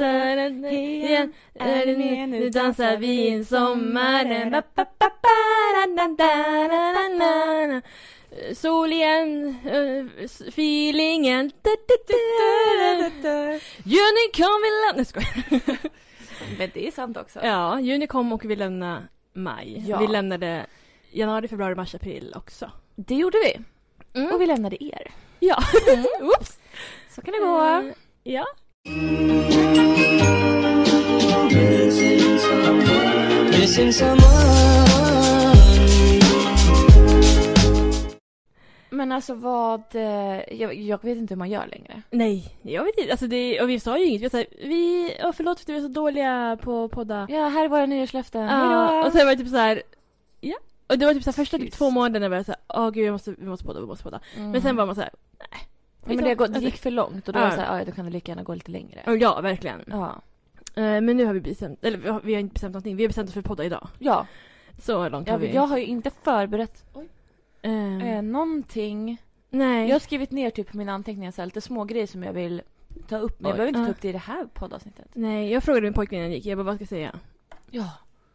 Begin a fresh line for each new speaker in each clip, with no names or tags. Igen är det nu, nu dansar vi in sommaren Ba, ba, ba, ba, ra, da, da, ra, la, la, la. Sol igen, eh, s- feelingen Da, da, da. Juni kom vi lämna... Nej skojar.
Men det är sant också.
Ja, juni kom och vi lämnade maj.
Ja.
Vi lämnade januari, februari, mars, april också.
Det gjorde vi.
Mm.
Och vi lämnade er.
Ja. Oops.
Så kan det gå.
Eh, Ja.
Missing someone.
Men alltså vad... eh, Jag, jag vet inte hur man gör längre.
Nej, jag vet inte. Alltså det, och vi sa ju inget. Vi sa vi, åh förlåt för att vi är så dåliga på att podda.
Ja, här är våra nyårslöften.
Ja,
Hejdå!
och sen var det typ så här, ja. Och det var typ så här, första typ
Tyst.
två månaderna var jag så här, åh gud vi måste, vi måste podda, vi måste podda.
Mm.
Men sen var man så här,
Ja, men det, går- det gick för långt och då var det
Ja.
så här, "Ah, ja, då kan det lika gärna gå lite längre.
Alltså, ja verkligen.
Ja.
Eh, men nu har vi bestämt, eller vi har, vi har inte bestämt någonting, vi har bestämt oss för att podda idag.
Ja,
Så långt har
jag,
vi.
jag har ju inte förberett
Ehm,
eh, någonting.
nej.
Jag har skrivit ner typ på mina anteckningar så här, lite små grejer som jag vill ta upp. Men jag
Oj.
behöver inte
Ja.
ta upp det i det här poddavsnittet.
nej, jag frågade min pojkvän innan jag gick, jag bara vad ska jag säga?
Ja,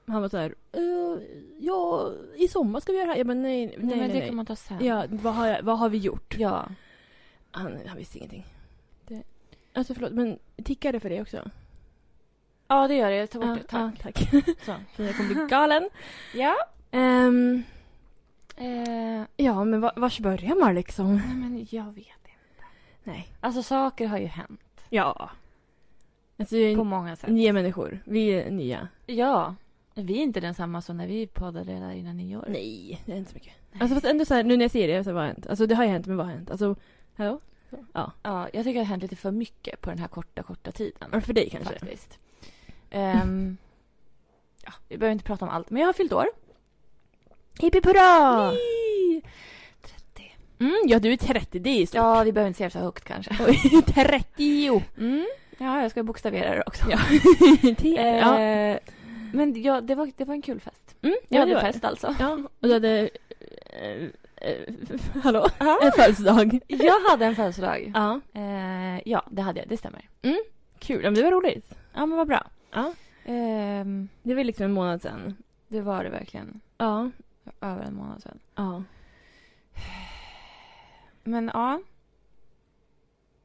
Han var så här, eh, ja i sommar ska vi göra det här. Jag bara nej, nej,
nej,
nej.
men det
nej.
kan man ta sen.
Ja, vad har, jag, vad har vi gjort?
ja.
Han, han visste ingenting. Det... Alltså förlåt, men tickar det för dig också?
Ja, det gör det. Jag tar bort
Ja,
det. Tack.
ja, tack.
Så.
jag kommer bli galen.
Ja.
Ehm,
Eh,
ja, men var, vars börjar man liksom?
nej, men jag vet inte.
Nej.
Alltså saker har ju hänt
Ja. Alltså, vi är
på
n-
många sätt.
nya människor. Vi är nya.
Ja. Vi är inte densamma som när vi poddade där innan nyår.
Nej, det är inte så mycket.
Nej.
Alltså fast ändå så här, nu när jag ser det, så här, vad har hänt? Alltså det har ju hänt, men vad har hänt? Alltså, hallå?
Ja, jag tycker det har hänt lite för mycket på den här korta, korta tiden.
För dig kanske?
Faktiskt. Ehm, ja, vi behöver inte prata om allt, men jag har fyllt år.
Hipp hipp hurra!
Yay!
Mm, ja, du är 30, det är stort.
Ja, vi behöver inte säga det så högt kanske.
Oj, 30!
Mm. Ja, jag ska bokstavera det också.
Ja.
Eh,
ja.
Men ja, det, var, det var en kul fest.
Mm,
Jag
ja, det
hade
var det.
fest alltså.
Ja, och du hade... Eh, eh, hallå? En födelsedag.
Jag hade en födelsedag.
Ja.
Eh, ja, det hade jag. Det stämmer.
Kul, ja, men det var roligt.
Ja, men vad bra.
Ja.
Ehm,
Det var liksom en månad sedan.
det var det verkligen.
Ja.
Över en månad sedan.
Ja.
Men ja.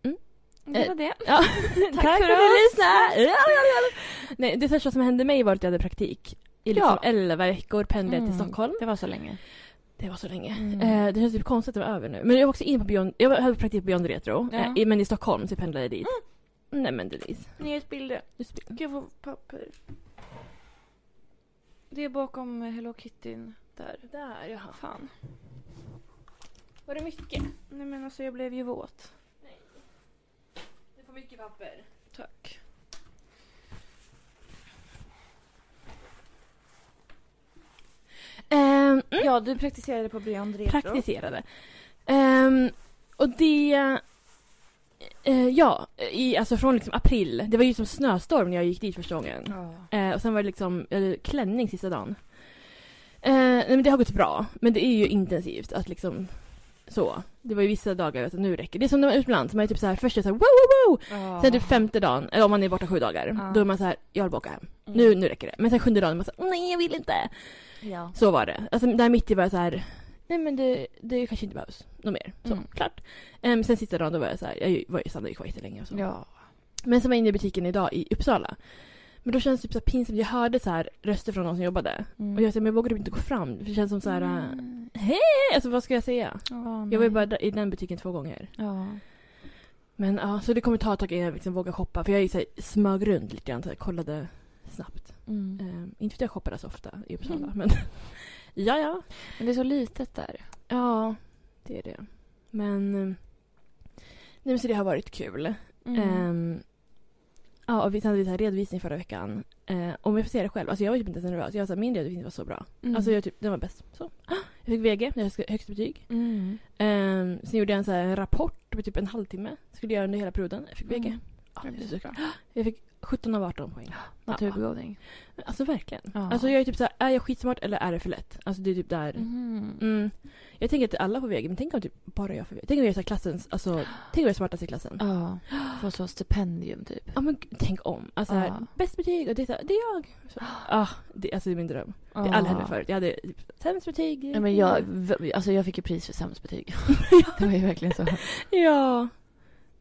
Mm.
Det var det.
ja.
Tack för oss.
lyssnade! Ja, ja, ja. Nej, det första som hände mig var att jag hade praktik. I liksom
Ja.
11 veckor pendlade jag till
Mm.
Stockholm.
Det var så länge.
Det var så länge.
Mm.
Eh, det känns typ konstigt att det var över nu. Men jag var också inne på Beyond, jag hade praktik på Beyond Retro.
Ja.
Eh, i- men i Stockholm, så jag pendlade dit. Nej men Denise.
Nyhetsbilder.
du sp-
Ska jag få papper? Det är bakom Hello Kittyn där.
Där jaha.
Fan. Var det mycket? Nej men alltså jag blev ju våt.
Du får mycket papper.
Tack.
Ehm,
Ja, du praktiserade på Beyond Retro.
praktiserade. Ehm, och det... eh, ja, i, alltså från liksom april. Det var ju som snöstorm när jag gick dit första gången.
Ja.
Eh, och sen var det liksom jag hade klänning sista dagen. Eh, nej, men det har gått bra. Men det är ju intensivt att liksom så. Det var ju vissa dagar jag sa nu räcker det. Det är som när man är utomlands. Man är typ så här först är det så här wow, wow, wow. Sen typ femte dagen, eller om man är borta sju dagar.
Ja.
Då är man så här, jag vill bara åka hem.
Mm.
Nu, nu räcker det. Men sen sjunde dagen är man så här, nej jag vill inte.
Ja.
Så var det. Alltså där mitt i var jag så här, nej men det, det kanske inte behövs något mer. Så,
Mm.
klart. Ehm, sen sista dagen då var jag så här, jag var ju stannade ju kvar jättelänge och så.
Ja.
Men som var jag inne i butiken idag i Uppsala. Men då känns det typ så här pinsamt. Jag hörde så här röster från någon som jobbade.
Mm.
Och jag sa, men jag vågar typ inte gå fram. För det känns som så här, äh,
Mm.
alltså vad ska jag säga?
Ja,
Jag var
nej.
ju bara där- i den butiken två gånger.
Ja.
Men ja, så det kommer ta ett tag innan jag liksom vågar shoppa. För jag gick så här, smög runt lite grann, så här, kollade snabbt.
Mm.
Ehm, inte för att jag shoppade så ofta i Uppsala,
Mm.
men ja, ja.
Men det är så litet där.
Ja, det är det. Men, eh, nej men så det har varit kul.
Mm.
Ehm, ja, och vi sen hade vi så här redovisning förra veckan. Eh, om jag får säga det själv, alltså jag var typ inte ens nervös. Jag var så här, min redovisning var så bra.
Mm.
Alltså jag typ, den var bäst. Så. Ah, Jag fick VG, det var högsta betyg.
Mm.
Ehm, sen gjorde jag en, så här, en rapport på typ en halvtimme. Skulle jag göra under hela perioden. Jag fick VG.
Mm.
Ja,
Det
det är
blir
så
bra.
Jag fick 17 av 18 poäng.
Naturbegåvning.
Alltså verkligen.
Ja.
Alltså jag är typ så här, är jag skitsmart eller är det för lätt? Alltså det är typ där.
Mhm.
Mm. Jag tänker att alla får VG, men tänk om typ bara jag får VG. Tänk om jag är så här klassens, alltså, tänk om jag är smartast i klassen.
Ja. Få så stipendium typ.
Ja men gud, tänk om. Alltså här,
Ja.
bäst betyg och det är, så här, det är jag. Så, ah, det, alltså det är min dröm. Det är alla hände förut. Jag hade typ, sämst betyg.
Ja, men jag, v- alltså jag fick ju pris för sämst betyg. det var ju verkligen så.
Ja.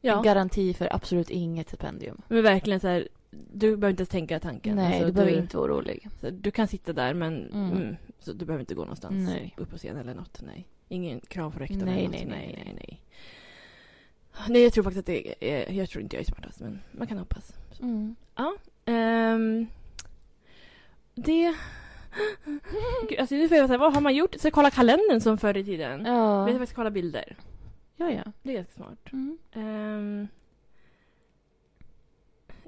En
Ja.
garanti för absolut inget stipendium.
Men verkligen så här, du behöver inte ens tänka tanken.
Nej,
Alltså,
du behöver inte vara orolig.
så Du kan sitta där men
Mm.
mm, så du behöver inte gå någonstans.
Nej.
Upp på scen eller något. Nej. Ingen krav från rektorn
Nej,
eller
nej,
något.
nej,
nej, nej. Nej, jag tror faktiskt att det är, eh, jag tror inte jag är smartast men man kan hoppas.
Mm.
Ehm, det... Gud, alltså nu får jag säga, vad har man gjort? Så kolla kalendern som förr i tiden.
Ja.
Vi ska faktiskt kolla bilder.
ja, ja.
Det är ganska smart.
Mm.
Ehm,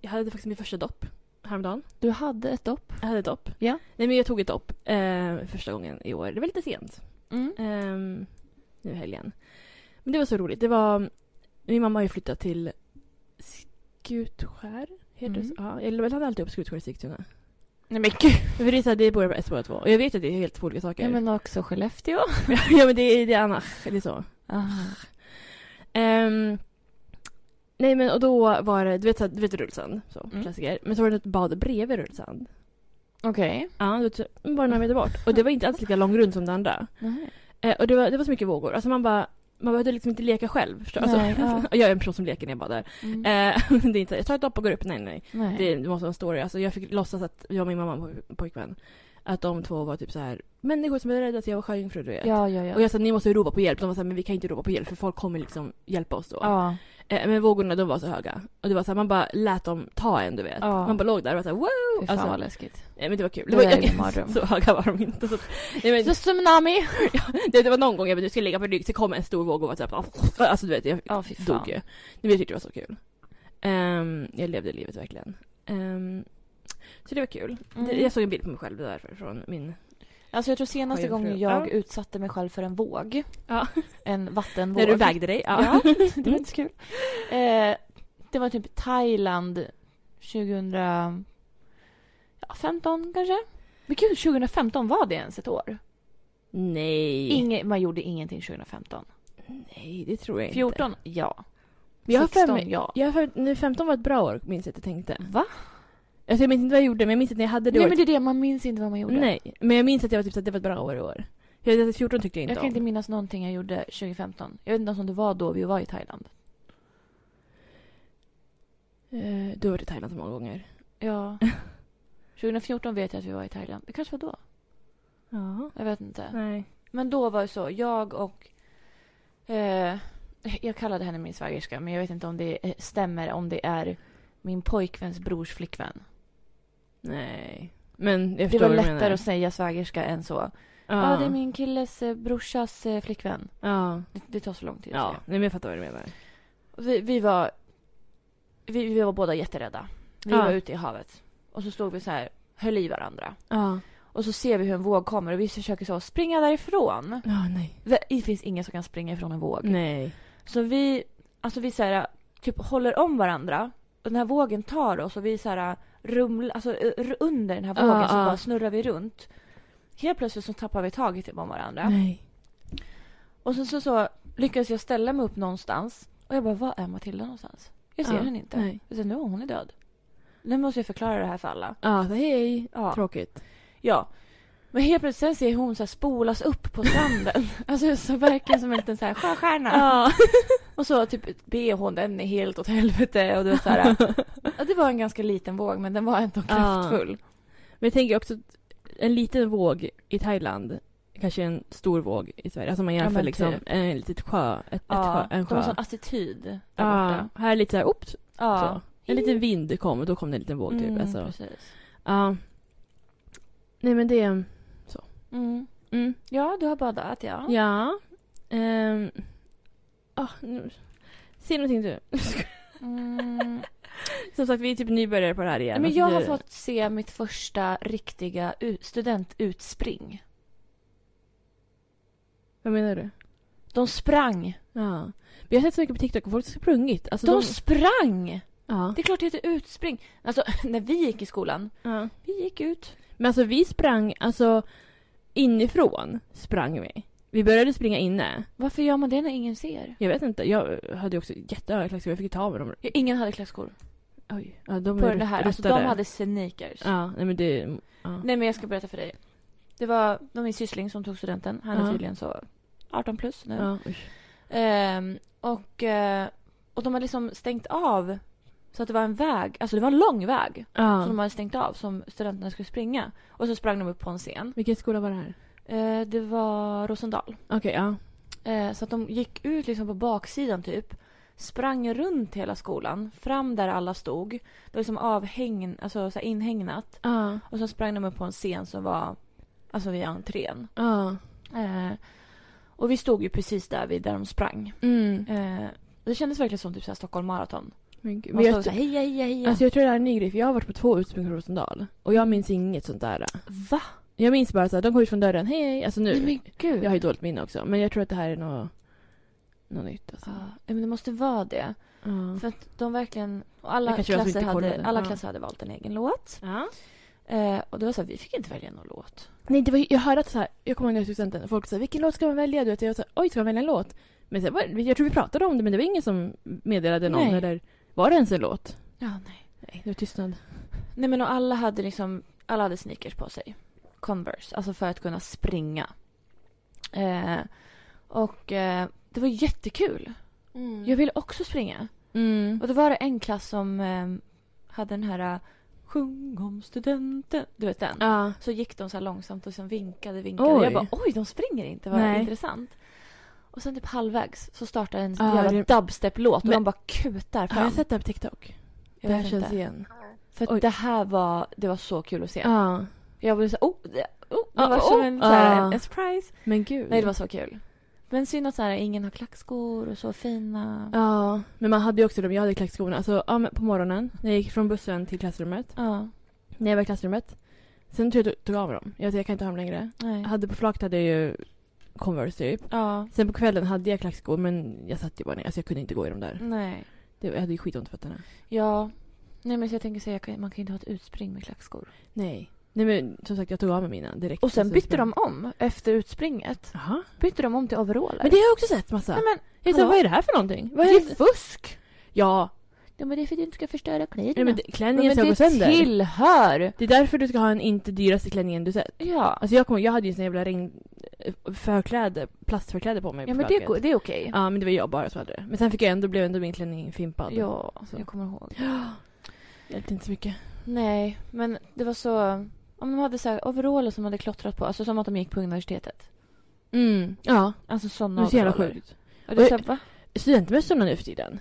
jag hade faktiskt min första dopp häromdagen.
Du hade ett dopp.
Jag hade ett dopp.
Ja.
Nej men jag tog ett dopp eh, första gången i år. Det var lite sent.
Mm. Eh,
Ehm, nu i helgen. Men det var så roligt. Det var... Min mamma har ju flyttat till Skutskär. Heter det så?
Mm.
Ja, jag laddade alltid upp Skutskär i Sigtuna.
Nej men gud.
För det är så här, det börjar med S båda två. Och jag vet att det är helt två olika saker.
Ja, men också Skellefteå.
ja, men det är, det är annars. Det är så.
Aha.
Ehm, nej men och då var det, du vet, så här, du vet Rullsand, så,
Mm.
klassiker. Men så var det ett bad bredvid Rullsand.
Okej.
Ja, det var typ bara några meter bort. Och det var inte alls lika lång rund som det andra.
Nej.
Eh, och det var, det var så mycket vågor. Alltså man bara, man behövde liksom inte leka själv. Förstår? Alltså,
Nej, ja.
och jag är en person som leker när jag badar.
Mm.
Eh, det är inte så här, jag tar ett dopp och går upp. Nej, nej.
Nej.
Det det måste vara en story. Alltså jag fick låtsas att jag och min mamma och poj- pojkvän, att de två var typ så här människor som är rädda att jag var sjöjungfru du vet.
Ja, ja, ja.
Och jag sa ni måste ropa på hjälp. De var så här, men vi kan inte ropa på hjälp för folk kommer liksom hjälpa oss då.
ja.
Eh, men vågorna de var så höga. Och det var så här, man bara lät dem ta en du vet.
Ja.
Man bara låg där och var så här, wow!
Fy fan
Alltså,
vad läskigt.
nej, men det var kul.
Det
var,
där är en mardröm.
så höga var de inte. Så, nej, men,
Så tsunami!
det, det var någon gång jag bara, du ska ligga på rygg, så kom en stor våg och var så här, alltså du vet jag
Ja, fy fan.
dog ju. Nej, men jag tyckte det var så kul. Ehm, jag levde livet verkligen. Ehm, så det var kul.
Mm.
Det, jag såg en bild på mig själv där från min...
Alltså jag tror senaste
Sjöjungfru.
gången jag
Ja.
utsatte mig själv för en våg.
Ja.
En vattenvåg.
När du vägde dig.
Ja,
Ja. Mm.
det var inte så kul. Eh, det var typ Thailand 2015 kanske? Men gud, 2015 var det ens ett år?
Nej.
Inge, man gjorde ingenting 2015.
Nej, det tror jag inte.
14? Ja.
Jag har
16?
fem-
Ja.
Jag har för, nu 15 var ett bra år, minns jag att jag tänkte.
Va?
Alltså jag minns inte vad jag gjorde, men jag minns att jag hade det
Nej
året.
men det är det, man minns inte vad man gjorde.
Nej, men jag minns att jag var typ så att det var ett bra år i år. Jag vet att 14 tyckte jag inte
Jag kan
om.
inte minnas någonting jag gjorde 2015. Jag vet inte ens om det var då vi var i Thailand.
Eh, du har varit i Thailand så många gånger.
Ja. 2014 vet jag att vi var i Thailand. Det kanske var då.
Ja.
Jag vet inte.
Nej.
Men då var det så, jag och... Eh, jag kallade henne min svägerska, men jag vet inte om det eh, stämmer om det är min pojkväns brors flickvän.
Nej. Men jag
Det
förstår
var
vad du menar.
lättare att säga svägerska än så. Ja,
Ja,
det är min killes eh, brorsas eh, flickvän.
Ja.
Det, det tar så lång tid att
ja.
säga.
Nej, men jag fattar vad du menar.
Och Vi, vi var... Vi, vi var båda jätterädda. Vi
Ja.
var ute i havet. Och så stod vi så här, höll i varandra.
Ja.
Och så ser vi hur en våg kommer och vi försöker så springa därifrån.
Ja, nej.
Det finns ingen som kan springa ifrån en våg.
Nej.
Så vi, alltså vi så här, typ håller om varandra och den här vågen tar oss och vi så här rumlar, alltså r- under den här
Ja,
vågen så
ja.
bara snurrar vi runt. Helt plötsligt så tappar vi taget typ om varandra.
Nej.
Och sen så, så lyckas jag ställa mig upp någonstans och jag bara, var är Matilda någonstans? Jag ser
Ja,
henne inte.
nej.
Jag säger, nu hon är död. Nu måste jag förklara det här för alla.
Ja, så hej.
Ja.
Tråkigt.
ja. Men helt plötsligt sen ser hon så här spolas upp på stranden. alltså så verkligen som en liten så här sjöstjärna.
Ja.
Och så typ bhn den är helt åt helvete och det var så här, ja, det var en ganska liten våg men den var ändå kraftfull.
Men jag tänker också att en liten våg i Thailand kanske är en stor våg i Sverige. Alltså man
Ja,
jämför
men
liksom
typ.
en litet sjö, ett, ett sjö, en
de har
sjö.
sån attityd där
Ja,
borta.
här är lite så här, oops,
Ja,
så. En liten vind kom och då kom det en liten våg typ.
Mm,
alltså.
precis.
Ja. Nej men det...
Mm.
Mm.
Ja, du har badat ja.
Ja. Ehm. Ah, nu. Se någonting du.
Mm.
Som sagt, vi är typ nybörjare på det här igen.
Nej, Men jag
Alltså,
har
det-
fått se mitt första riktiga u- studentutspring.
Vad menar du?
De sprang.
Ja. Vi har sett så mycket på TikTok och folk har sprungit. Alltså,
De sprang!
Ja.
Det är klart det heter utspring. Alltså när vi gick i skolan,
ja.
vi gick ut.
Men alltså vi sprang, alltså inifrån sprang vi. Vi började springa inne.
Varför gör man det när ingen ser?
Jag vet inte, jag hade ju också jättehöga klackskor. Jag fick ju ta av mig dem.
Ja, Ingen hade klackskor
Oj. Ja, de
på
är
det här.
rut-
Alltså de
ruttade.
hade sneakers.
Ja, nej men det... Ja.
Nej men jag ska berätta för dig. Det var det var min syssling som tog studenten. Han är
Ja.
tydligen så 18 plus nu.
Ja, usch.
Ehm, och, eh, och de hade liksom stängt av så att det var en väg, alltså det var en lång väg som de
ja.
hade stängt av som studenterna skulle springa. Och så sprang de upp på en scen.
Vilken skola var det här?
Eh, det var Rosendal.
Okej, ja.
Eh, så att de gick ut liksom på baksidan typ. Sprang runt hela skolan, fram där alla stod. Det var liksom avhäng, alltså så här inhägnat.
Ja.
Och så sprang de upp på en scen som var alltså vid entrén.
Ja.
Eh, och vi stod ju precis där vid där de sprang.
Mm.
Eh, och det kändes verkligen som typ så här Stockholm maraton.
Men, gud,
Man
men
står
jag,
så här, heja, heja, heja.
alltså jag tror det här är en ny grej, för jag har varit på två utspring från Rosendal. Och jag minns inget sånt där.
va?
Jag minns bara så här, de kom ut från dörren, hej, hej. Alltså
Nej
nu.
men gud.
Jag har ju dåligt minne också. Men jag tror att det här är något, något nytt. Alltså.
Ja, men det måste vara det.
Ja.
För att de verkligen... Och alla
Det kanske var jag som
klasser,
inte
hade,
kollade.
alla
Ja.
klasser hade valt en egen låt.
Ja.
Eh, och det var så här, vi fick inte välja någon låt.
Nej, det var, ju- jag hörde att så här, jag kommer ihåg när jag tog studenten, folk sa vilken låt ska man välja? Du vet, jag sa oj, ska man välja en låt? Men så här, var- jag tror vi pratade om det, men det var ingen som meddelade någon.
Nej.
Eller var det ens en låt?
Ja, nej.
Nej, det var tystnad.
Nej men och alla hade liksom, alla hade sneakers på sig. Converse, alltså för att kunna springa. Eh, och eh, det var jättekul. Jag ville också springa.
Mm.
Och då var det en klass som eh, hade den här eh, Sjung om studenten. Du vet den?
Ja.
Så gick de så här långsamt och sen vinkade, vinkade.
Oj.
Jag bara oj, de springer inte. Vad
Nej.
intressant. Och sen typ halvvägs så startar en
Ja,
jävla
det-
dubstep-låt och
Men-
de bara kutar
Har
fram.
jag sett det här på TikTok?
Jag
det här
vet
känns
inte.
igen.
För
Oj.
att det här var, det var så kul att se.
Ja.
Jag blev så här, oh, det, oh, ah. det
Ja,
var
oh,
som en, så här,
ja.
en, en surprise.
Men gud.
Nej, det var så kul. Men synd att så här, ingen har klackskor och så fina.
Ja, men man hade ju också dem. Jag hade klackskorna. Alltså, ja, men på morgonen när jag gick från bussen till klassrummet.
Ja,
När jag var i klassrummet. Sen tror jag att jag tog av dem. Jag, jag kan inte ha dem längre.
nej.
Jag hade på flaket hade jag ju Converse typ.
Ja,
Sen på kvällen hade jag klackskor men jag satt ju bara ner. Alltså jag kunde inte gå i dem där.
nej.
Det, jag hade ju skitont i fötterna.
Ja. Nej men så jag tänker säga, jag kan- man kan ju inte ha ett utspring med klackskor.
Nej. Nej men som sagt jag tog av mig mina direkt.
Och sen
Alltså,
bytte
jag-
de om efter utspringet.
Jaha.
Bytte de om till overaller.
Men det har jag också sett massa.
Nej men,
jag sa,
hallå?
vad är det här för någonting? Vad
det
är
är fusk!
Ja.
Ja men det är för att du inte ska förstöra kläderna.
Nej, men det, klänningen
Ja,
ska gå
men det
sönder.
tillhör!
Det är därför du ska ha en inte dyraste klänningen du sett.
Ja.
Alltså jag, kom, jag hade ju sån jävla regn... eh, Förkläde, plastförkläde på mig
Ja
på
men det,
flaket.
går- det är okej.
Ja men det var jag bara som hade det. Men sen fick jag ändå, blev ändå min klänning fimpad.
Ja,
Så.
jag kommer ihåg.
Hjälpte inte så mycket.
Nej, men det var så... Om de hade så här overaller som hade klottrat på, alltså som att de gick på universitetet.
Mm. Ja.
Alltså
Det
sådana
var så jävla
overaller.
sjukt.
Och det är så här, va?
studentmössorna nu för tiden.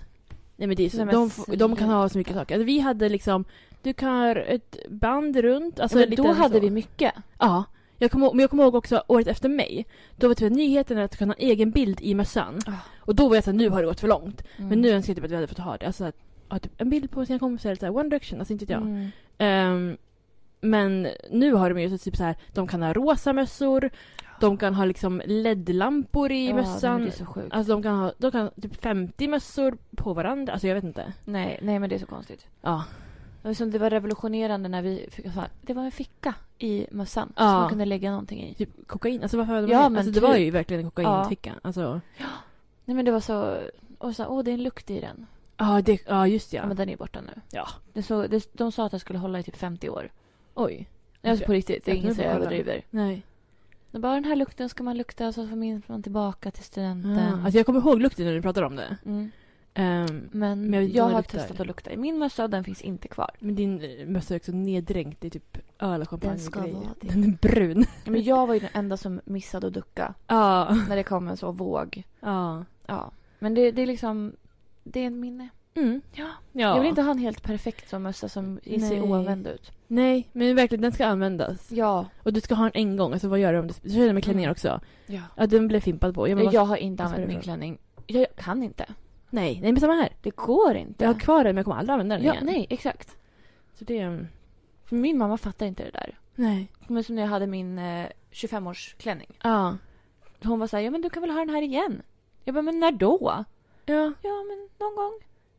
Nej men det är så,
Nej, men
de, får- de kan ha så mycket saker. Alltså, vi hade liksom, du kan ha ett band runt. Alltså,
ja, men
lite
då hade
så.
vi mycket.
Ja. Jag kommer, ihåg- men jag kommer ihåg också året efter mig. Då var typ nyheten att kunna ha egen bild i mössan.
Ah.
Och då var jag såhär, nu har det gått för långt.
Mm.
Men nu önskar jag typ att vi hade fått ha det. Alltså att ha typ en bild på sina kompisar, eller så här, One Direction, alltså inte vet jag.
Mm.
Ehm, men nu har de ju så typ så här, de kan ha rosa mössor, de kan ha liksom LED-lampor i
Ja,
mössan.
men det är så sjukt.
Alltså de kan ha, de kan ha typ 50 mössor på varandra. Alltså jag vet inte.
Nej, nej, men det är så konstigt.
Ja.
Det var, som, det var revolutionerande när vi fick... Så här, det var en ficka i mössan
Ja.
som man kunde lägga någonting i.
Typ kokain. Alltså varför hade de
Ja,
det?
men
alltså, det
typ.
var ju verkligen en kokainficka. Ja. Alltså,
Nej men det var så... Och så, åh det är en lukt i den.
ja, det, ja just
Ja.
ja.
men den är ju borta nu.
Ja.
Det så, det, de sa att den skulle hålla i typ 50 år.
Oj.
Alltså på riktigt, det är
Jag
ingen
får
som
kolla.
överdriver.
Nej.
De bara, den här lukten ska man lukta så får minns man tillbaka till studenten.
Ja. Alltså jag kommer ihåg lukten när du pratade om det.
mm.
Ehm,
Men,
Men jag vet inte
jag
vad det
har
luktar.
testat att lukta i min mössa och den finns inte kvar.
men din eh, mössa är också neddränkt i typ öl och champagne.
ska
grejer.
vara det.
Den är brun.
Men jag var ju den enda som missade att ducka
Ja.
när det kom en så våg.
Ja.
Ja. Men det, det är liksom, det är ett minne.
Mm.
Ja.
ja.
Jag vill inte ha en helt perfekt sån mössa som
Nej.
ser oanvänd ut.
Nej, men verkligen den ska användas.
Ja.
Och du ska ha den en gång. Alltså vad gör du om du... Så känner jag med klänningar
Mm.
också.
ja.
Ja, den blev fimpad på. Jag bara,
Jag, har inte
vad spelar
använt
det
min
för
klänning. Jag, jag kan inte.
Nej, nej men samma här.
Det går inte.
Jag har kvar den men jag kommer aldrig använda den
ja,
igen.
nej, exakt.
Så det... mm,
För min mamma fattar inte det där.
Nej.
Men som när jag hade min eh, 25-årsklänning.
Ja.
Hon var så här, ja men du kan väl ha den här igen? Jag bara, men när då?
Ja.
Ja, men någon gång.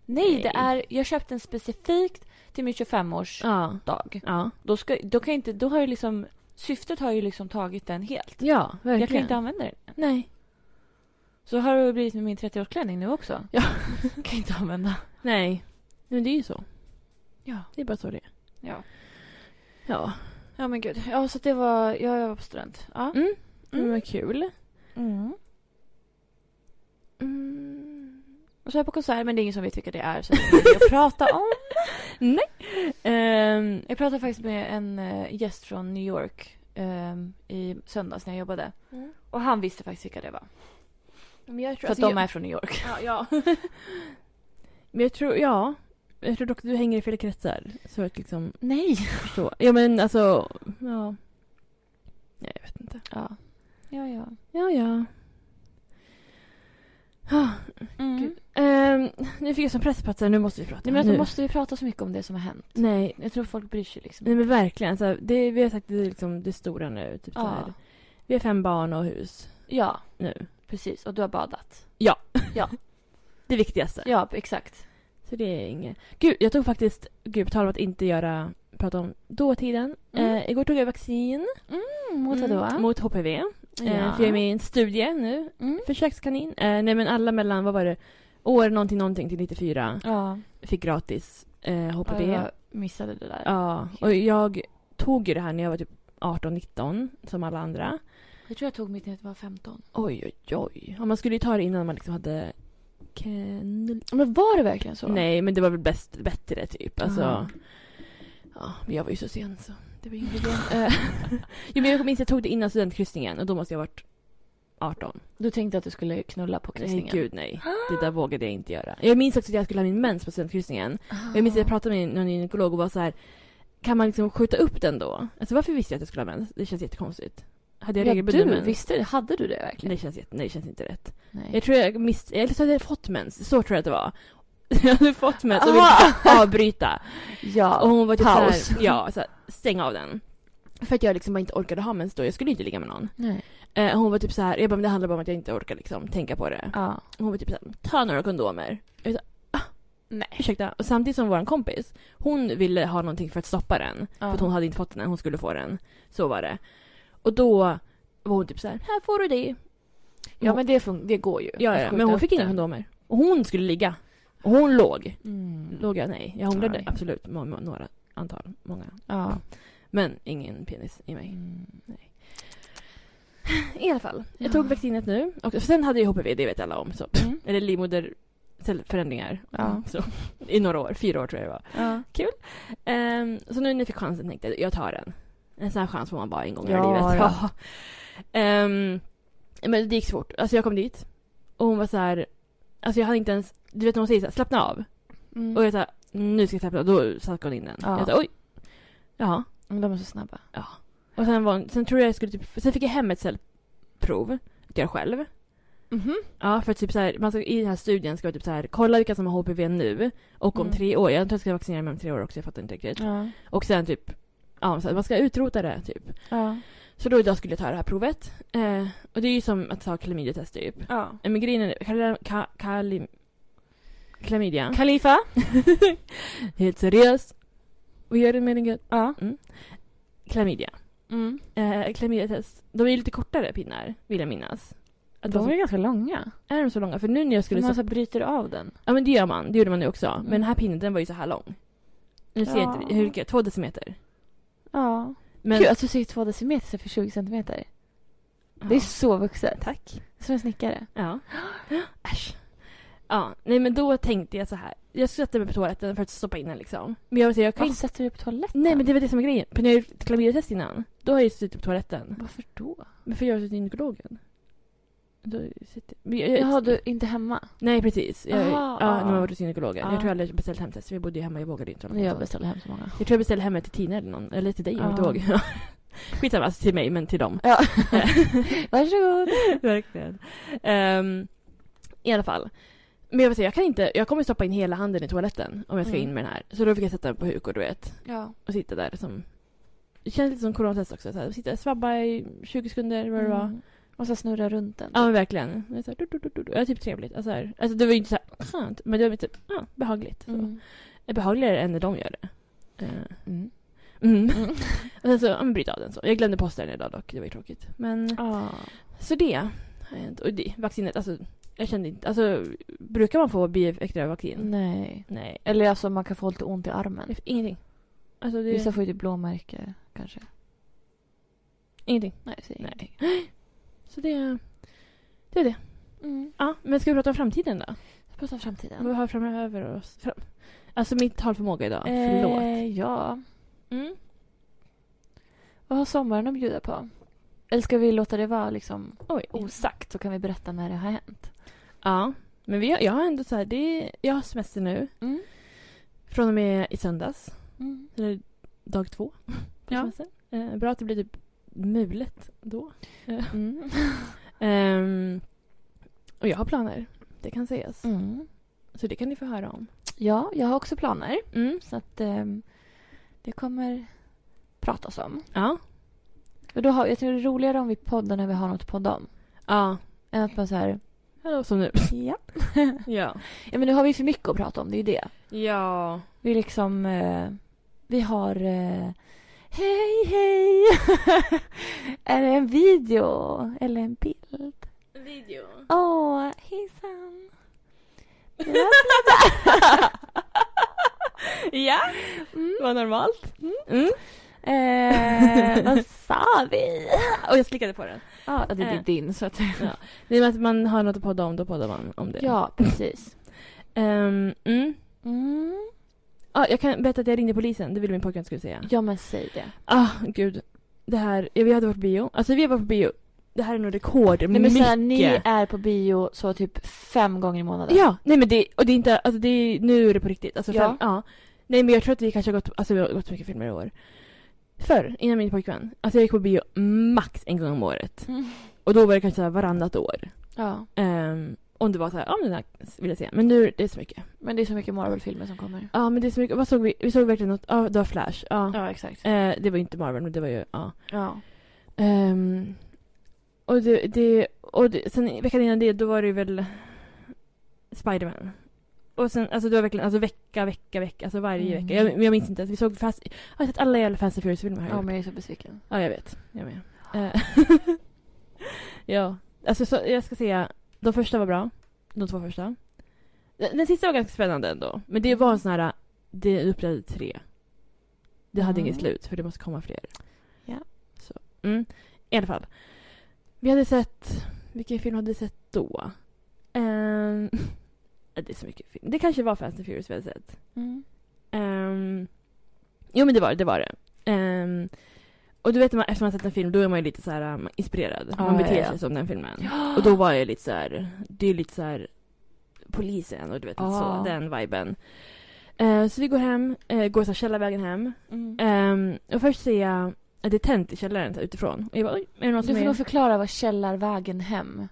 Nej, det är, jag köpte den specifikt till min 25-årsdag.
Ja. Ja.
Då, ska, då kan jag inte, då har ju liksom, syftet har ju liksom tagit den helt.
Ja, verkligen.
Jag kan inte använda den.
Nej.
Så har det blivit med min 30-årsklänning nu också.
Ja.
kan inte använda.
Nej. Men det är ju så.
Ja.
Det är bara så det är.
Ja.
Ja.
Ja men gud. Ja så det var, ja, jag var på student. Ja.
Mm.
Mm.
Men vad kul.
Mm.
Mm.
Och så är jag på konsert men det är ingen som vet vilka det är så det är ingenting att prata om.
Ehm,
Jag pratade faktiskt med en eh, gäst från New York ehm, i söndags när jag jobbade.
Mm.
Och han visste faktiskt vilka det var.
men jag tror,
För att de är från New York.
Ja, ja. men jag tror, ja. Jag tror dock att du hänger i fel kretsar. Så att liksom
Nej.
förstå. Ja men alltså, ja. Nej, jag vet inte.
Ja. Ja ja.
Ja, ja.
Mm.
Gud. Ehm, nu fick jag som press på att så här, nu måste vi prata.
Nej men alltså
nu.
måste vi prata så mycket om det som har hänt?
Nej,
Jag tror folk bryr sig liksom.
Nej men verkligen. Så här, det, vi har sagt att det är liksom det stora nu. Typ så här.
ja.
Vi har fem barn och hus
ja,
nu.
precis. Och du har badat.
Det viktigaste.
Ja, exakt.
Så det är inget. Gud, jag tog faktiskt, gud på tal om att inte göra, prata om dåtiden.
Mm.
Eh, igår tog jag vaccin.
Mm, mot vadå?
Mm, mot HPV. Eh, för jag är med i en studie nu.
Mm.
Försökskanin. Eh, nej men alla mellan, vad var det, år någonting någonting till 94
Ja.
fick gratis eh, HPV.
Ja, jag missade det där.
Ja, och jag tog ju det här när jag var typ 18-19 som alla andra.
Jag tror jag tog mitt när jag var 15.
Oj, oj, oj. Ja, man skulle ju ta det innan man liksom hade knull...
Men var det verkligen så?
Nej, men det var väl bäst, bättre typ. Alltså,
Aha.
ja, men jag var ju så sen så det var ingen idé. Eh, jo, men jag minns jag tog det innan studentkryssningen och då måste jag ha varit 18.
Du tänkte att du skulle knulla på kryssningen?
Nej, gud nej. Det där vågade jag inte göra. Jag minns också att jag skulle ha min mens på studentkryssningen.
Ah.
Jag minns att jag pratade med någon gynekolog och var så här, kan man liksom skjuta upp den då? Alltså varför visste jag att jag skulle ha mens? Det känns jättekonstigt. Hade jag
Ja,
regelbunden
du,
mens?
visste, hade du det verkligen?
Nej, det känns, jätte- nej, det känns inte rätt.
Nej.
Jag tror jag miss... Eller så hade jag fått mens. Så tror jag att det var. Jag hade fått mens och
Aha!
ville avbryta.
Ah! Ja.
Och hon var typ
Paus.
såhär, ja, så här, stäng av den. För att jag liksom bara inte orkade ha mens då. Jag skulle ju inte ligga med någon.
Nej.
Eh, hon var typ så här, jag bara, men det handlar bara om att jag inte orkar liksom tänka på det.
Ja.
Hon var typ såhär, ta några kondomer. Jag var så här,
Nej.
Ursäkta. Och samtidigt som vår kompis, hon ville ha någonting för att stoppa den. För att hon hade inte fått den än, hon skulle få den. Så var det. Och då var hon typ så här, här får du det.
Ja men det, fun- det går ju.
Ja,
Att
ja.
skjuta
men hon
upp
fick inga
den.
kondomer. Och hon skulle ligga. Och hon låg.
Mm.
Låg jag? Nej. Jag hånglade
Nej.
absolut. Må, må, några antal. Många.
Ja.
Men ingen penis i mig.
Mm.
I alla fall. Jag
Ja.
tog vaccinet nu. Och sen hade jag HPV, det vet alla om. Så.
Mm.
Eller livmoderförändringar.
Ja.
Så, I några år. Fyra år tror jag det var.
Ja.
Ehm, så nu när jag fick chansen tänkte jag jag tar den. En sån här chans får man bara en gång i
Ja,
livet.
ja.
Ehm, men det gick svårt. Alltså jag kom dit och hon var så här... Alltså jag hade inte ens... Du vet när hon säger så här, slappna av.
Mm.
Och jag sa, nu ska jag slappna av. Då satte hon in den.
Ja.
Jag sa, oj. Ja.
Men de är så snabba.
Och sen, var, hon- sen tror jag jag skulle typ... Sen fick jag hem ett cellprov. Att göra själv.
Mhm.
Ja, för att typ så här, man ska, i den här studien ska man typ så här, kolla vilka som har HPV nu och om
Mm.
tre år. Jag tror jag ska vaccinera mig om tre år också, jag fattar inte riktigt.
Ja.
Och sen typ, ja, så här, man ska utrota det typ.
Ja.
Så då idag skulle jag ta det här provet. Eh, och det är ju som att ta klamydiatest typ.
ja.
Eh, Men grejen är, kla- ka- kalim- klamydia.
Khalifa?
Helt seriöst. Vad gör det med din Mm.
Ja.
Klamydia.
Mm.
Eh, klamydiatest. De är ju lite kortare pinnar, vill jag minnas. Att de som,
ganska långa. Liksom.
är de så långa? För nu när jag
Skulle
skulle...
man
Så,
så bryter av den?
ja men det gör man, det gjorde man nu också. Men den här pinnen den var ju så här lång. Nu ser jag
Mm. Ja.
inte, hur mycket? är det? Två decimeter.
Ja.
Men,
Gud, alltså, att du säger två decimeter istället för 20 centimeter.
ja.
Det är så vuxet.
Tack.
Som en snickare.
Ja. Äsch. Ja, nej men då tänkte jag så här. Jag satte mig på toaletten för att stoppa in den liksom. Men jag, vill säga, jag kan
Varför
inte...
sätter du dig på toaletten?
Nej men det var det som var grejen. För när jag gjorde klamydiatest innan, då har jag ju suttit på toaletten.
Varför då?
Men för jag har suttit i gynekologen. Då sitter... men jag- jag-
Jaha, du är inte hemma?
Nej precis. Jag,
Aha.
ja, när man var hos gynekologen. Jag
Ja.
tror jag aldrig beställt hem test. Vi bodde ju hemma, jag vågade ju inte hålla på
Men
med
jag
sånt.
beställer hem så många.
Jag tror jag beställde hem ett till Tina eller någon. Eller till dig, jag
Ja.
kommer inte ihåg. Skitsamma, alltså till mig men till dem.
Ja. Varsågod.
Verkligen. Ehm, I alla fall. Men jag vill säga, jag kan inte, jag kommer stoppa in hela handen i toaletten om jag ska
Mm.
in med den här. Så då fick jag sätta mig på huk och du vet,
Ja.
och sitta där som... Det känns lite som coronatest också. Så här, sitta, svabba i 20 sekunder, vad det var.
Mm. Och så snurra runt den.
Ja men verkligen. Jag är så här, du, du, du, du, du. Ja, typ trevligt. Alltså, här, alltså det var ju inte så här, skönt. Men det är typ, ja, behagligt. Så.
Mm.
Är behagligare än när de gör det. Eh, Mm. och sen så, ja, men bryta av den så. Jag glömde posta den idag dock, det var ju tråkigt. Men,
Ah.
så det har hänt. Och det, vaccinet, alltså, jag kände inte, alltså, brukar man få bieffekter av vaccin?
Nej.
Nej,
Eller alltså man kan få lite ont i armen.
ingenting. Alltså, det,
Vissa får ju typ blåmärke kanske.
ingenting.
Nej, säg
Nej.
ingenting.
Så det, det är det.
Mm.
Ja, men ska vi prata om framtiden då?
Jag pratar om framtiden.
Vad har framöver oss? Fram... Alltså min talförmåga idag, förlåt.
Eh, ja.
Mm.
Vad har sommaren att bjuda på? Eller ska vi låta det vara liksom
Oj.
osagt så kan vi berätta när det har hänt?
Ja, men vi har, jag har ändå så här, det, jag har semester nu.
Mm.
Från och med i söndags.
Mm.
Eller dag två på
Ja.
semestern. Eh, bra att det blir typ mulet då.
Mm.
Ehm, och jag har planer, det kan sägas.
Mm.
Så det kan ni få höra om.
Ja, jag har också planer.
Mm.
Så att ehm, det kommer pratas om.
Ja.
Och då har, jag tror det är roligare om vi poddar när vi har något att podda om.
Ja.
Än att man så här,
Hallå som nu.
ja.
Ja.
ja men nu har vi för mycket att prata om, det är ju det.
Ja.
Vi liksom, eh, vi har eh, Hej hej! är det en video eller en bild?
Video.
Åh, hejsan!
Ja,
Mm.
var normalt. Mm.
Eh, vad sa vi?
Och jag slickade på den.
Ja, det blir
Eh.
din så att
Ja. Det är med att man har något att podda om, då poddar man om det.
Ja, precis.
Ehm, mm.
Mm.
Ja, jag kan berätta att jag ringde polisen, det ville min pojkvän skulle säga.
Ja, men säg det.
Ah, gud. Det här, ja, vi hade varit på bio. Alltså vi var på bio. Det här är nog rekord.
Nej, men såhär, ni
mycket.
är på bio så typ fem gånger i månaden.
Ja, nej men det, och det är inte, alltså det är, nu är det på riktigt. Alltså,
Ja.
Fem, ja. Nej men jag tror att vi kanske har gått, alltså vi har gått på mycket filmer i år. Förr, innan min pojkvän, alltså jag gick på bio max en gång om året.
Mm.
Och då var det kanske så här varannat år.
ja.
Um, om det var så här, ja men den här vill jag se. Men nu, det är så mycket.
Men det är så mycket Marvel-filmer som kommer.
Ja men det är så mycket, vad såg vi? Vi såg verkligen något, ja det var Flash. Ja.
Ja, exakt.
Eh, det var ju inte Marvel men det var ju, ja.
Ja.
Ehm, och det, det, och det, sen veckan innan det, då var det ju väl Spiderman. Och sen, alltså det var verkligen, alltså vecka, vecka, vecka, alltså varje
Mm.
vecka. Jag, jag minns inte ens, vi såg fast, jag har sett alla jävla Fast and Furious-filmer här.
ja, men jag är så besviken.
ja, jag vet. Jag med. Eh, ja, alltså så, jag ska säga, de första var bra. De två första. Den, den sista var ganska spännande ändå. Men det var en sån här, det upplevde tre. Det hade
Mm.
inget slut, för det måste komma fler.
Ja.
Så, mm. I alla fall. Vi hade sett, vilken film hade vi sett då? Ehm, det är så mycket film. Det kanske var Fast and Furious vi hade sett.
Mm.
Ehm, jo men det var det, det var det. Ehm, och du vet när man, efter man har sett en film då är man ju lite så här um, inspirerad.
Ja,
man beter
ja, ja.
sig som den filmen. Och då var jag lite så här, det är lite så här polisen och du vet
Ja.
så, den viben. Eh, så vi går hem, eh, går så här källarvägen hem.
Mm.
Ehm, och först ser jag att det är tänt i källaren så här, utifrån. Och jag bara, oj, är det någon
Du
som
får
är
nog förklara vad källarvägen hem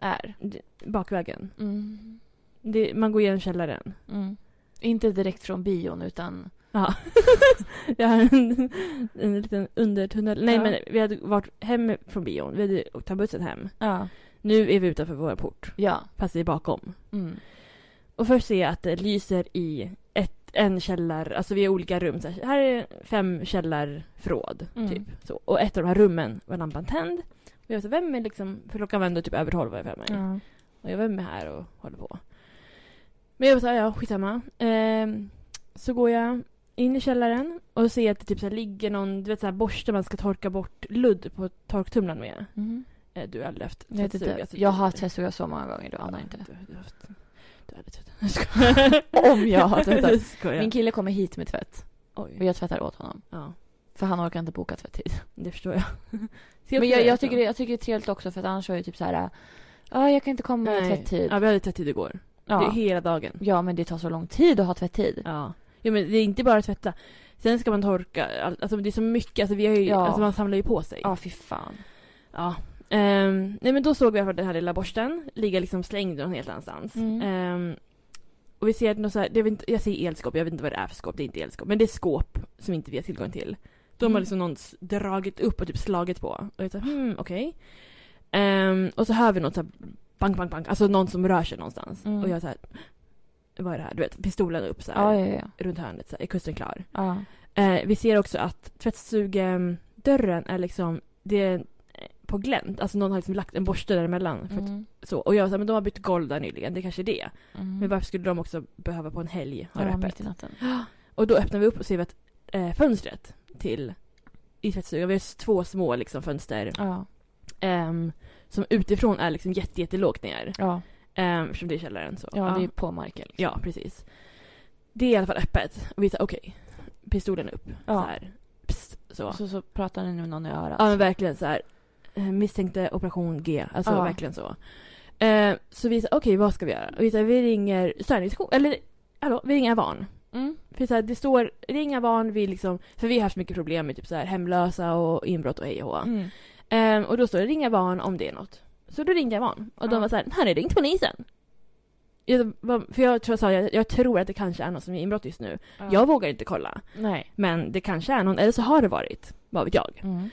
är.
bakvägen?
Mm.
Det, man går igenom källaren.
Mm. Inte direkt från bion utan...
Jag har en, en liten undertunnel. Nej
Ja.
men vi hade varit hem från bion, vi hade åkt- tagit bussen hem.
Ja.
Nu är vi utanför vår port,
Ja.
fast vi är bakom.
Mm.
Och först ser jag att det lyser i ett, en källar, alltså vi har olika rum. Så här, här är fem källarförråd,
Mm.
typ. Så, och ett av de här rummen var lampan tänd. Och jag sa, vem är liksom, för klockan var ändå typ över tolv var jag för mig.
Ja.
Och jag, vem är här och håller på? Men jag var så här, ja skitsamma. Ehm, så går jag in i källaren och ser att det typ så här ligger någon, du vet så här borste man ska torka bort ludd på torktumlaren med.
Mm.
Eh, Du har aldrig haft
Jag, vet
tvättstuga,
inte.
så
jag
du-
har tvättstuga så många gånger, du anar inte.
du, du har haft, du har aldrig tvättat. Jag skojar.
Om jag har tvättat.
Skojar.
Min kille kommer hit med tvätt och
Oj.
jag tvättar åt honom.
Ja,
För han orkar inte boka tvätttid.
det förstår jag. Ska
Men
också
jag,
göra
jag, tycker, det- jag tycker det är trevligt också för att annars är det typ så här... Ja, jag kan inte komma med
Nej.
tvätttid.
Ja, vi hade tvätttid igår. Det är
Ja.
hela dagen.
ja, men det tar så lång tid att ha tvätttid.
Ja. Jo, men det är inte bara att tvätta. Sen ska man torka. all- Alltså det är så mycket. Alltså, vi har ju,
Ja.
alltså man samlar ju på sig.
Ja, fy fan.
Ja. Ehm, nej men då såg vi i alla fall den här lilla borsten ligga liksom slängd någon helt annanstans.
Mm.
Ehm, och vi ser något så här, det är väl inte, jag säger elskåp, jag vet inte vad det är för skåp, det är inte elskåp. Men det är skåp som inte vi har tillgång till. De har
Mm.
liksom någon s- dragit upp och typ slagit på. Och jag sa hmm, okej. Ehm, och så hör vi något så här bank, bank, bank. Alltså någon som rör sig någonstans.
Mm.
Och jag så här, vad är det här? Du vet, pistolen upp så här,
Ja, ja, ja.
runt hörnet. Så här, är kusten klar?
ja.
Eh, vi ser också att tvättstugedörren är liksom, det är eh, på glänt. Alltså någon har liksom lagt en borste däremellan. För att,
Mm.
så. Och jag sa, men de har bytt golv där nyligen, det kanske är det.
Mm.
Men varför skulle de också behöva på en helg ha det
ja,
öppet?
mitt i natten.
Och då öppnar vi upp och ser vi att eh, fönstret till i tvättstugan, vi har s- två små liksom, fönster
Ja,
ehm, som utifrån är liksom jätte, jättelågt ner.
ja.
Um, eftersom det är källaren så.
ja det är ju på marken. Liksom.
Ja, precis. Det är i alla fall öppet. Och vi säger okej, pistolen upp. Så
Ja.
här. Psst, så.
Så, så pratar ni med någon i örat.
Ja men verkligen så här. eh, Misstänkte operation G. Alltså
Ja.
verkligen så. Eh, så vi sa okej vad ska vi göra? Och vi, sa, vi ringer störningsjour. Eller hallå, vi ringer Avan.
Mm.
För så här, det står ring Avan, vi liksom. För vi har haft mycket problem med typ så här hemlösa och inbrott och hej och hå.
Mm.
Eh, Och då står det ring Avan om det är något. Så då ringde jag Avan. Och de
Ja.
var så här, har ni ringt polisen? Jag, bara, för jag tror jag sa, jag, jag tror att det kanske är någon som är inbrott just nu.
Ja.
Jag vågar inte kolla.
Nej.
Men det kanske är någon, eller så har det varit. Vad vet jag?
Mm.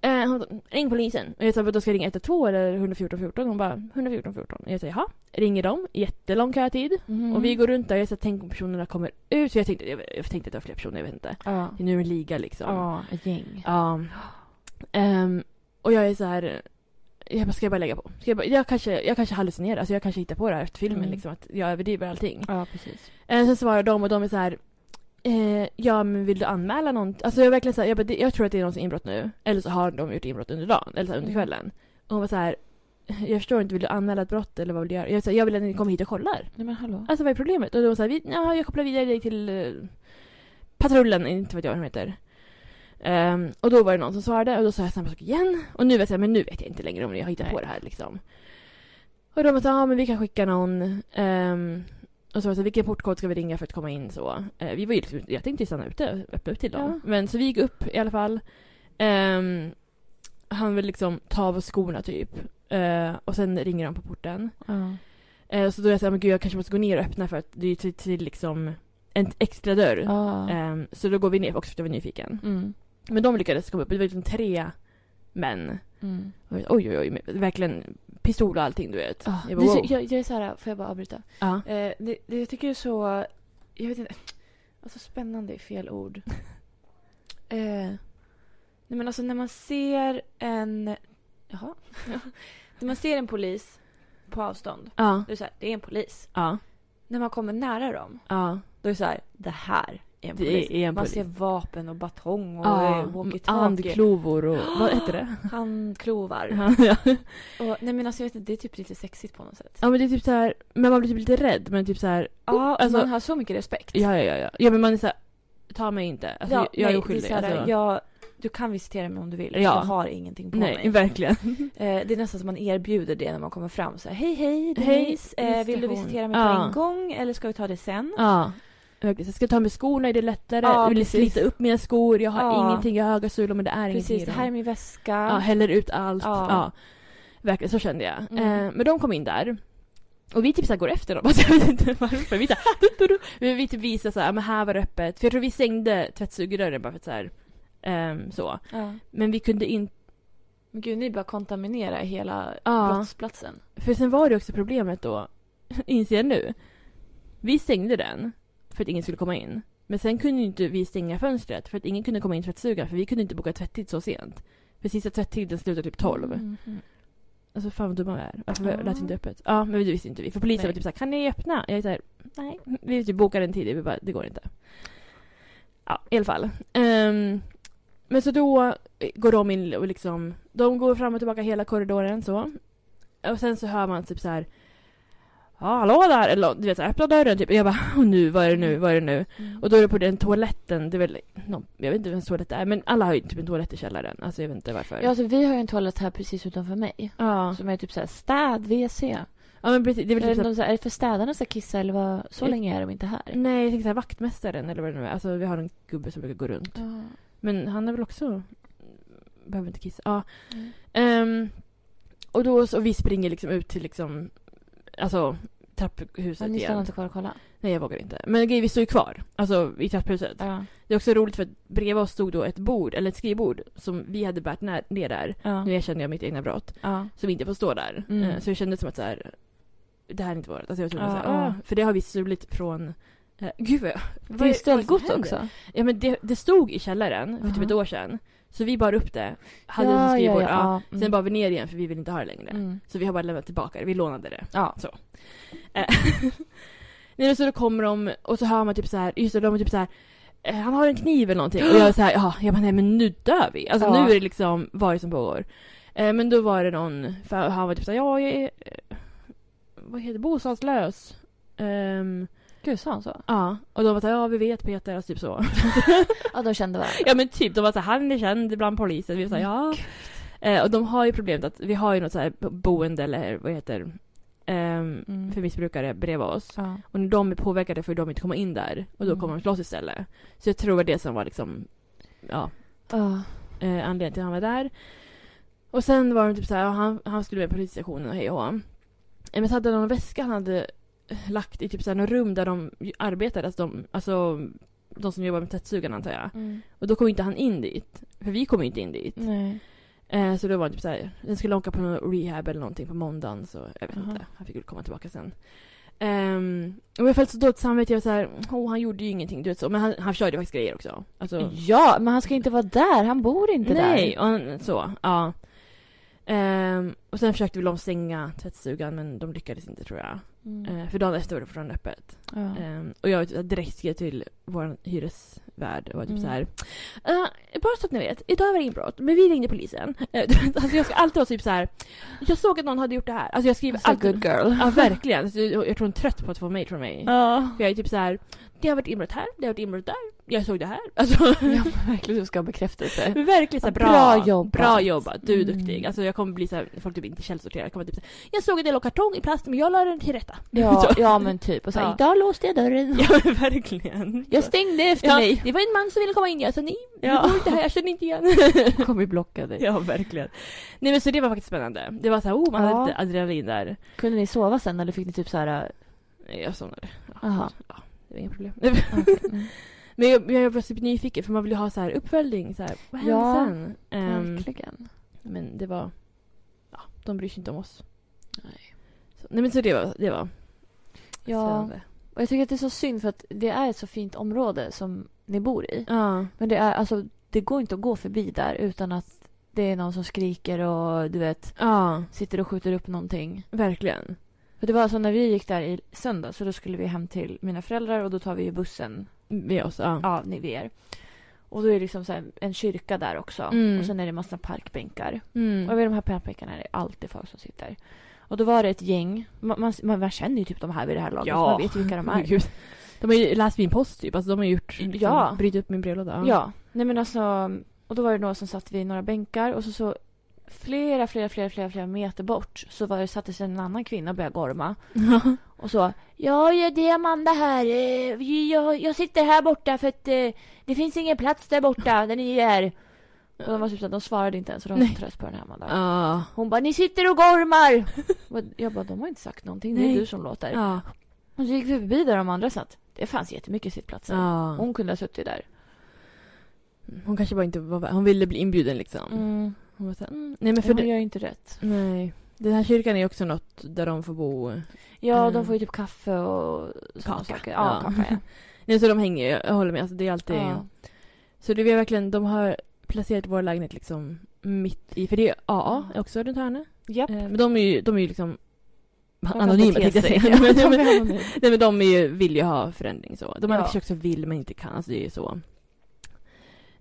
Eh, hon sa, ring polisen. Och jag sa, då ska jag ringa 112 eller 114 14? Hon bara, 114 14. Och jag sa, jaha. Ringer dem, jättelång kötid.
Mm.
Och vi går runt där och jag sa, tänk om personerna kommer ut. Så jag tänkte, jag, jag tänkte att det var fler personer, jag vet inte.
Ja.
Det är nu en liga liksom.
Ja, ett gäng.
Ja. Ehm, och jag är så här, jag bara, ska jag bara lägga på? Ska jag, bara, jag, kanske, jag kanske hallucinerar, alltså jag kanske hittar på det här efter filmen
Mm.
liksom, att jag överdriver allting.
Ja, precis.
Eh, sen svarar de och de är så här. Eh, ja men vill du anmäla någonting? Alltså jag är verkligen så här, jag, bara, det- jag tror att det är någons inbrott nu. Eller så har de gjort inbrott under dagen, eller så här, under
Mm.
kvällen. Och hon var så här. Jag förstår inte, vill du anmäla ett brott eller vad vill du göra? Jag, sa, jag vill att ni kommer hit och kollar.
Nej men hallå.
Alltså vad är problemet? Och då var hon så här, vi, ja, jag kopplar vidare dig till eh, patrullen, inte vet jag vad de heter. Ehm, och då var det någon som svarade och då sa jag samma sak igen. Och nu vet jag, men nu vet jag inte längre om jag har hittat
Nej.
på det här liksom. Och de sa, ja men vi kan skicka någon. Ehm, och så var det så här, vilken portkod ska vi ringa för att komma in så? Eh, vi var ju liksom, jag tänkte ju stanna ute och öppna upp till dem. Men så vi gick upp i alla fall. Ehm, han vill liksom ta av oss skorna typ. Eh, och sen ringer de på porten.
Ja.
Eh, så då är jag såhär, men gud jag kanske måste gå ner och öppna för att det är ju till, till liksom en extra dörr.
Ja.
Eh, så då går vi ner också för att jag var nyfiken.
Mm.
Men de lyckades komma upp, det var liksom tre män.
Mm.
Och jag, Oj oj oj, men verkligen pistol och allting du vet.
Ah,
jag
jag,
bara, wow.
jag, jag är så här, får jag bara avbryta?
Ja.
Eh, det, det, jag tycker det är så... Jag vet inte. Alltså spännande är fel ord. eh, nej men alltså när man ser en... Jaha. när man ser en polis på avstånd.
Ja.
Då är det så här, det är en polis.
Ja.
När man kommer nära dem.
Ja.
Då är det så här, det här är en polis.
Det är en
man
polis.
ser vapen och batong och
Ja,
eh, walkie-talkie.
Andklovor och vad heter det?
Handklovar.
Ja, ja.
Och, nej men alltså jag vet inte, det är typ lite sexigt på något sätt.
ja men det är typ så här, men man blir typ lite rädd men typ så här,
Ja,
alltså-
Oh, man har så mycket respekt.
ja ja ja ja. Ja men man är såhär, ta mig inte. Alltså, jag jag
nej,
är
det
oskyldig.
så här,
alltså.
jag, du kan visitera mig om du vill.
Ja.
Jag har ingenting på
Nej,
mig.
verkligen.
Eh, det är nästan som man erbjuder det när man kommer fram. Så här, hej, hej,
Hej,
Denise. eh, vill du
visitation.
visitera mig
Ja.
på en gång eller ska vi ta det sen?
Ja. Verkligen. Så ska jag ta med skorna, är det lättare?
Ja,
vill
precis.
slita upp mina skor, jag har
Ja.
ingenting, jag har höga sulor men det är ingenting
Precis, det
i dem.
här är min väska.
Ja, häller ut allt. Ja.
Ja.
Verkligen, så kände jag.
Mm.
Eh, men de kom in där. Och vi typ så här går efter dem, alltså jag vet inte varför. Vi, så här, du, du, du. Men vi typ visar såhär, men här var det öppet. För jag tror vi stängde tvättstugedörren bara för att såhär, så.
Ja.
Men vi kunde inte,
Men gud, ni bara kontaminerar hela
Ja.
brottsplatsen.
för sen var det också problemet då, inser jag nu. Vi stängde den för att ingen skulle komma in. Men sen kunde ju inte vi stänga fönstret för att ingen kunde komma in i tvättstugan för vi kunde inte boka tvättid så sent. För sista tvättiden slutade typ 12.
Mm, mm.
Alltså fan vad dumma vi är. Varför
Ja.
lät vi inte öppet? Ja, men det visste inte vi. För polisen
Nej.
var typ såhär, kan ni öppna? Jag är såhär, nej. Vi typ bokade en tid, vi bara, det går inte. Ja, i alla fall. Ehm, men så då eh, går de in och liksom, de går fram och tillbaka hela korridoren så. Och sen så hör man typ så här. Ja, hallå där! Eller du vet, så här, öppna dörren typ. Och jag bara, och nu, vad är det nu, vad är det nu?
Mm.
Och då är det på den toaletten, det är väl, någon- jag vet inte vems toalett det är, men alla har ju typ en toalett i källaren. Alltså jag vet inte varför.
Ja, alltså, vi har ju en toalett här precis utanför mig.
ja.
Som är typ såhär städ-WC.
ja, men precis. Det är väl typ
Eller
så här-
de så här, Är det för städarna som ska kissa eller vad? Så
Eh,
länge är de inte här.
Nej, jag tänkte såhär vaktmästaren eller vad det nu är. Alltså vi har en gubbe som brukar gå runt.
Ja.
Men han är väl också... Behöver inte kissa. Ja.
Mm.
Ehm, och då så, och vi springer liksom ut till liksom... Alltså
Ja,
trapphuset
ni stannade
igen.
inte kvar och kollade?
Nej, jag vågar inte. Men grejen, vi stod ju kvar. Alltså i trapphuset.
Ja.
Det är också roligt för att bredvid oss stod då ett bord, eller ett skrivbord, som vi hade bärt ner, ner där.
Ja.
Nu erkände jag mitt egna brott,
ja.
som inte får stå där.
Mm.
Eh, Så jag kände som att så här, det här är inte vårt. Alltså jag var tvungen att
Ja,
säga,
ja.
"Ah", för det har vi stulit från... eh, Gud vad jag- vad
Det är ju
vad som
stöldgods
händer?
också. Ah.
Ja men det, det stod i källaren för typ
Aha.
ett år sedan. Så vi bar upp det, hade det som skrivbord. Ja,
Mm.
Sen bar vi ner igen för vi vill inte ha det längre.
Mm.
Så vi har bara lämnat tillbaka det, vi lånade det.
Ja.
Så. Eh, Nej men så då kommer de och så hör man typ så här, just det, de är typ så här eh, han har en kniv eller någonting. Och jag är så här, ja, jag bara, nej men nu dör vi. Alltså
Ja.
nu är det liksom, vad är det som pågår? Eh, men då var det någon, för han var typ så här, ja jag är, eh, vad heter det, bostadslös. Ehm,
Gud, sa han så?
ja, och de var så här, ja vi vet Peter, alltså typ så.
Ja, de kände varandra.
Ja men typ, de var så här, han är känd bland polisen. Vi var så
Mm.
här, ja. Eh, och de har ju problemet att vi har ju något så här boende eller vad heter ehm,
Mm.
för missbrukare bredvid oss.
Ja.
Och när de är påverkade får ju de inte komma in där. Och då
Mm.
kommer de slåss istället. Så jag tror det var det som var liksom, ja,
Ja.
eh, anledningen till att han var där. Och sen var det typ så här, ja, han, han skulle med polisstationen och hej och hå. Eh, Men så hade de en väska han hade lagt i typ så här något rum där de ju arbetade, alltså de, alltså de som jobbar med tvättsugarna antar jag.
Mm.
Och då kom inte han in dit. För vi kom ju inte in dit.
Nej.
Eh, så då var det typ såhär, den skulle åka på någon rehab eller någonting på måndagen så jag vet
Aha.
inte. Han fick väl komma tillbaka sen. Ehm, och jag följde så dåligt samvete, jag var såhär, åh han gjorde ju ingenting, du vet så. Men han, han körde ju faktiskt grejer också. Alltså,
Ja, men han ska inte vara där. Han bor inte där.
nej, och han, så, ja. Ehm, och sen försökte väl de stänga tvättstugan men de lyckades inte tror jag.
Mm.
Eh, för dagen efter var det fortfarande öppet.
Ja.
Ehm, och jag typ direkt skrev till vår hyresvärd och var typ
Mm.
så här. "Eh, bara så att ni vet, idag var det inbrott men vi ringde polisen. Eh, du vet, alltså jag ska alltid vara typ så här. jag såg att någon hade gjort det här. Alltså jag skriver
Så
alltid...
good girl.
Ja verkligen. Alltså, jag jag tror hon är trött på att få mejl från mig.
Ja.
För jag är typ så här. det har varit inbrott här, det har varit inbrott där, jag såg det här. Alltså
Ja, men verkligen du ska ha bekräftelse.
men verkligen så här,
Bra
bra,
jobbat.
Bra jobbat, du är
Mm.
duktig. Alltså jag kommer bli så här, folk typ inte källsorterar. Jag kommer typ så här, jag såg en del av kartong i plast men jag la den till rätta.
Ja,
Så.
ja men typ. Och så här,
Ja.
idag låste jag dörren.
Ja men verkligen.
Jag
Så.
stängde efter
Ja,
mig.
det var en man som ville komma in, jag sa nej,
Ja.
du bor inte här, jag känner inte igen.
Kommer blocka dig.
ja, verkligen. Nej men så det var faktiskt spännande. Det var så här, oh man
Ja.
hade lite adrenalin där.
Kunde ni sova sen eller fick ni typ så här...
Nej, Jag somnade. Ja,
Aha.
Ja, det var inga problem.
äh, okej, mm,
men jag, jag var typ nyfiken för man vill ju ha så här uppföljning, så här, vad hände
Ja,
sen? Ehm,
Verkligen.
men det var, ja, de bryr sig inte om oss.
Nej.
Så, nej men så det var, det var
Ja,
spännande.
och jag tycker att det är så synd för att det är ett så fint område som ni bor i.
Ja.
Men det är alltså, det går inte att gå förbi där utan att det är någon som skriker och du vet,
ja,
sitter och skjuter upp någonting.
verkligen.
För det var alltså när vi gick där i söndag så då skulle vi hem till mina föräldrar och då tar vi ju bussen
Med oss, ja.
ja, ni vet. Och då är det liksom så här en kyrka där också.
Mm.
Och sen är det massa parkbänkar.
Mm.
Och vid de här parkbänkarna är det alltid folk som sitter. Och då var det ett gäng. Man, man, man, man känner ju typ de här vid det här laget.
Ja.
så Man vet ju vilka de
Men
är.
gud. De har ju läst min post typ, alltså de har gjort, liksom,
Ja.
brutit upp min brevlåda.
Ja. Nej men alltså. Och då var det några som satt vid några bänkar. Och så, så flera, flera, flera, flera, flera meter bort så var det, satte sig en annan kvinna och började gorma.
Ja.
Och så. Ja, ja, det är Amanda här. Eh, Jag, jag sitter här borta för att eh, det finns ingen plats där borta där ni är. Och de var typ så att de svarade inte ens. Och de var så
Nej.
trött på den här Amanda.
Ja.
Hon bara, ni sitter och gormar! Och jag bara, de har inte sagt någonting. Det är
Nej.
du som låter.
Ja.
Och så gick vi förbi där de andra satt. Det fanns jättemycket sittplatser.
Ja.
Hon kunde ha suttit där.
Hon kanske bara inte var Hon ville bli inbjuden liksom.
Mm.
Hon var såhär, mm. Nej men för
Hon
det,
gör ju inte rätt.
Nej. Den här kyrkan är ju också något där de får bo.
Ja,
Mm.
de får ju typ kaffe och sådana
Kaka.
saker. Ja,
Ja.
kaka ja.
Nej så de hänger ju, jag håller med. Alltså det är alltid.
ja.
Så det är verkligen, de har placerat vår lägenhet liksom mitt i. För det är AA också runt hörnet.
Japp.
Eh, Men de är ju, de är ju liksom
kan
anonyma
bete
tänkte jag
sig.
säga. Men-
De är
men-
anonyma.
Nej men de är ju, vill ju ha förändring så. De andra
Ja.
kanske också vill men inte kan. Alltså det är ju så.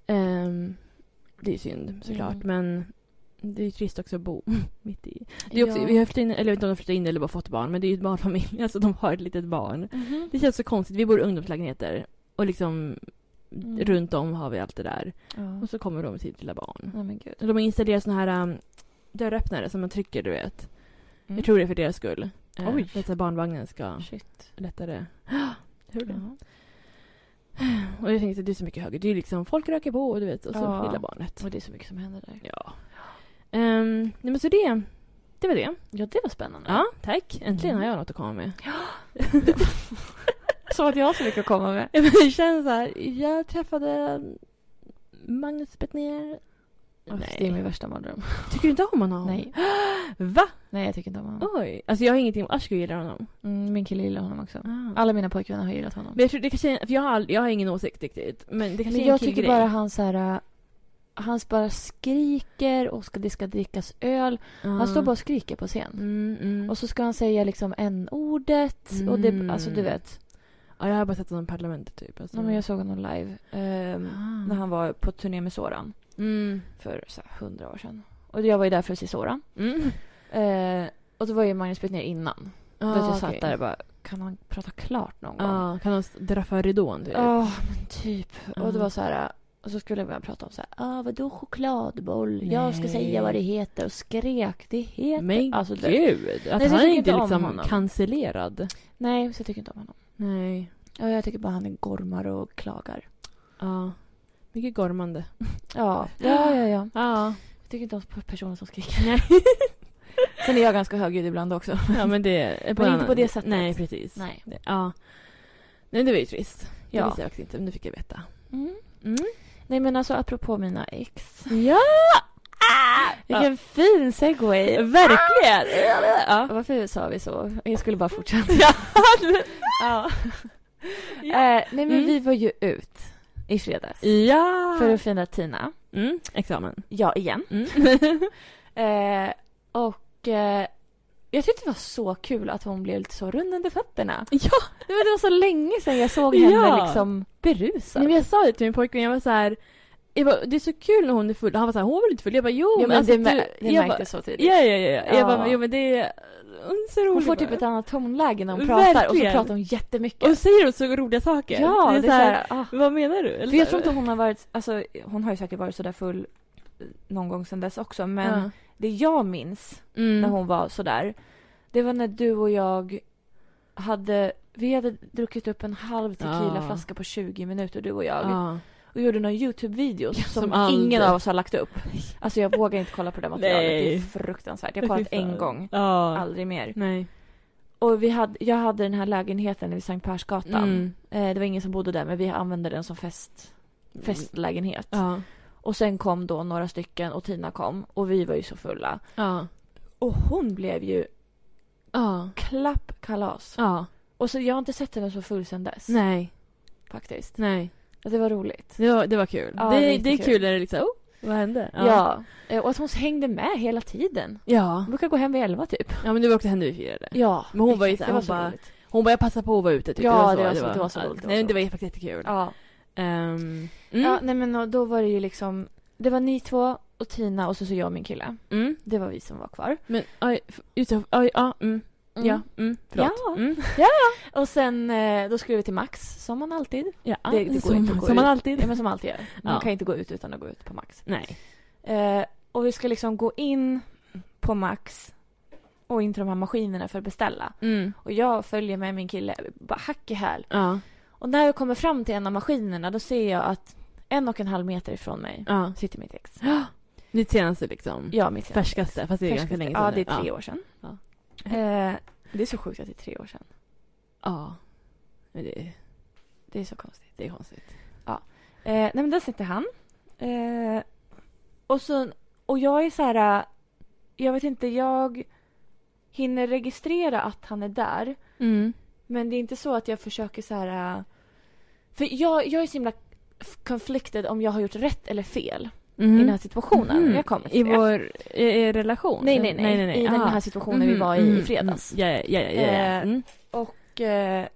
Ehm, det är ju synd såklart
Mm.
men det är ju trist också att bo mitt i. Det är också, Vi har flyttat in, eller jag vet inte om de flyttat in eller bara fått barn, men det är ju ett barnfamilj. Alltså de har ett litet barn.
Mhm.
Det känns så konstigt. Vi bor i ungdomslägenheter och liksom
Mm.
runt om har vi allt det där.
Ja.
Och så kommer de med sitt lilla barn.
Nej, men gud.
Och De har installerat såna här um, dörröppnare som man trycker, du vet.
Mm.
Jag tror det är för deras skull. Eh,
Oj.
För att så här barnvagnen ska
Shit.
lättare... Hur det?
Ja.
Och jag tänkte att det är så mycket högre. Det är liksom, folk röker på och du vet, och så
Ja.
lilla barnet.
Och det är så mycket som händer där.
Ja. Mm. Ehm, nej men så det. Det var det.
Ja, det var spännande.
Ja, tack. Äntligen har jag något att komma med.
Som att jag har så mycket att komma med.
Ja, men det känns så här. Jag träffade Magnus Bettner.
Nej. Det är min värsta mardröm.
Tycker du inte om honom?
Nej.
Va?
Nej, jag tycker inte om honom.
Oj. Alltså jag har ingenting emot Ashko gillar honom.
Mm, min kille gillar honom också.
Ah.
Alla mina pojkvänner har gillat honom.
Men jag tror det kanske är, för jag har, ald- jag har ingen åsikt riktigt. Men det kanske
Men
är en
jag tycker
killgrej.
bara han så här... äh, Han bara skriker och ska, det ska drickas öl.
Ja.
Han står bara och skriker på scen.
Mm, mm.
Och så ska han säga liksom en ordet och
Mm.
det, alltså du vet.
Ja, jag har bara sett honom i Parlamentet typ. Alltså.
Ja, men jag såg honom live. ehm,
Ah.
När han var på turné med Soran.
Mm.
För så här, hundra år sedan. Och jag var ju där för att se Soran.
Mm.
Eh, och då var ju Magnus Betnér innan.
Ah,
då att jag satt
okej.
där och bara, kan han prata klart någon gång?
Ja, kan de s- dra för ridån typ? Ah.
Ja, men typ. Och det
Ja.
var så här... Och så skulle jag börja prata om så här, ah, vadå chokladboll? Jag ska
Nej.
säga vad det heter. Och skrek, det heter...
Men
alltså, det-
gud! Att
så jag
han
tycker
är
inte
inte
om
liksom
honom.
cancellerad.
Nej, så jag tycker inte om honom.
Nej.
Ja, Jag tycker bara han är gormar och klagar.
Ja. Mycket gormande.
Ja, ja, ja. ja.
Ja.
Jag tycker inte om personer som skriker. Sen är jag ganska högljudd ibland också.
Ja men det... är
Men
en
inte på det sättet.
Nej precis.
Nej.
Det- Ja. Nej det var ju trist. Det
Ja.
visste jag faktiskt inte men nu fick jag veta.
Mm. Ah! Nej, men alltså apropå mina ex.
Ja!
Vilken fin segway.
Verkligen!
Ja. Ah! Varför sa vi så? Jag skulle bara fortsätta. ja. Eh, nej, men
Mm.
vi var ju ut i fredags
Ja!
för att fira Tina.
Mm, examen.
Ja, igen.
Mm.
Eh, och eh, jag tyckte det var så kul att hon blev lite så rund under fötterna.
ja!
Det var det var så länge sedan jag såg henne
Ja.
liksom berusad.
Nej, men jag sa det till min pojkvän, jag var så här... Jag bara, det är så kul när hon är full. Han var så här, hon var väl inte full? Jag bara, jo
Jo, men
alltså,
det, mä-
du-
det
jag bara,
märktes så tidigt.
Ja, ja, ja. ja.
Ja.
Jag bara, men, jo men det är... Hon är så rolig.
Hon får typ
bara.
ett annat tonläge när hon pratar och så
Verkligen.
pratar hon jättemycket.
Och säger hon så roliga saker.
ja, det är så här, ah.
Vad menar du? Eller
För jag
så
tror
här-
inte hon har varit, alltså hon har ju säkert varit sådär full eh, någon gång sedan dess också men
Ja.
det jag minns
Mm.
när hon var sådär det var när du och jag hade, vi hade druckit upp en halv
Ah.
tequilaflaska på 20 minuter du och jag
Ja.
och gjorde någon YouTube-video
Ah. Ja,
som,
som aldrig-
ingen av oss har lagt upp. Alltså jag vågar inte kolla på det materialet, det är
Nej.
fruktansvärt. Jag har kollat
Fy fan.
en gång,
Ja.
aldrig mer.
Nej.
Och vi hade, jag hade den här lägenheten vid Sankt Persgatan.
Mm.
Eh, det var ingen som bodde där men vi använde den som fest, festlägenhet.
Ja.
Och sen kom då några stycken och Tina kom och vi var ju så fulla.
Ja.
Och hon blev ju
Ja.
klappkalas.
Ja.
Och så jag har inte sett henne så full sen dess
Nej.
faktiskt.
Nej.
Att Det var roligt.
Det var, det var kul.
Ja, det
det,
var
det, är
jättekul.
kul när det liksom, oh, vad hände?
Ja. Eh, Och att hon hängde med hela tiden.
Ja.
Hon brukar gå hem vid elva typ.
Ja, men det var också henne vi firade.
Ja.
Men hon var ju
exakt.
såhär,
det var
hon
så
bara-
roligt.
Hon bara, jag passade på att vara ute. Typ.
Ja, det var så- det var så roligt, det var
Nej,
så
men det var faktiskt jättekul.
Ja.
Ehm,
ja.
mm.
Nej men och då var det ju liksom, det var ni två och Tina och så, så jag och min kille.
Mm.
Det var vi som var kvar.
Men, aj, f- just det, aj, ja, mm, ja, mm, förlåt.
Ja.
Mm.
Och sen eh, då skulle vi till Max, som man alltid.
ja.
Det- det går
som,
inte att gå
Som man
ut.
alltid.
Ja, men som alltid gör. Man
Ja.
kan inte gå ut utan att gå ut på Max.
Nej.
Eh, och vi ska liksom gå in på Max och in till de här maskinerna för att beställa.
Mm.
Och jag följer med min kille, bara hack i häl.
Ja,
Och när jag kommer fram till en av maskinerna då ser jag att en och en halv meter ifrån mig
ja.
sitter mitt ex.
Ditt senaste liksom.
Ja, mitt ex.
Färskaste, fast det är ganska länge sedan.
Ja, det är
nu.
tre år sedan.
Ja.
Eh, det är så sjukt att det är tre år sedan.
Ja. Men det,
Det är så konstigt.
det är konstigt.
Eh, nej, men där sitter han. Eh, och, så, och jag är så här... eh, Jag vet inte, jag hinner registrera att han är där.
Mm.
Men det är inte så att jag försöker så här... äh, För jag, jag är så himla f- conflicted om jag har gjort rätt eller fel i den här situationen.
Mhm.
Jag kommer till
Mm. I
det.
vår i, i relation?
Nej, nej, nej.
nej, nej.
I den
Ah.
här situationen vi
Mhm,
var i
mhm,
i fredags.
mhm. Ja, ja, ja. ja, ja.
Eh,
Mm.
Och eh,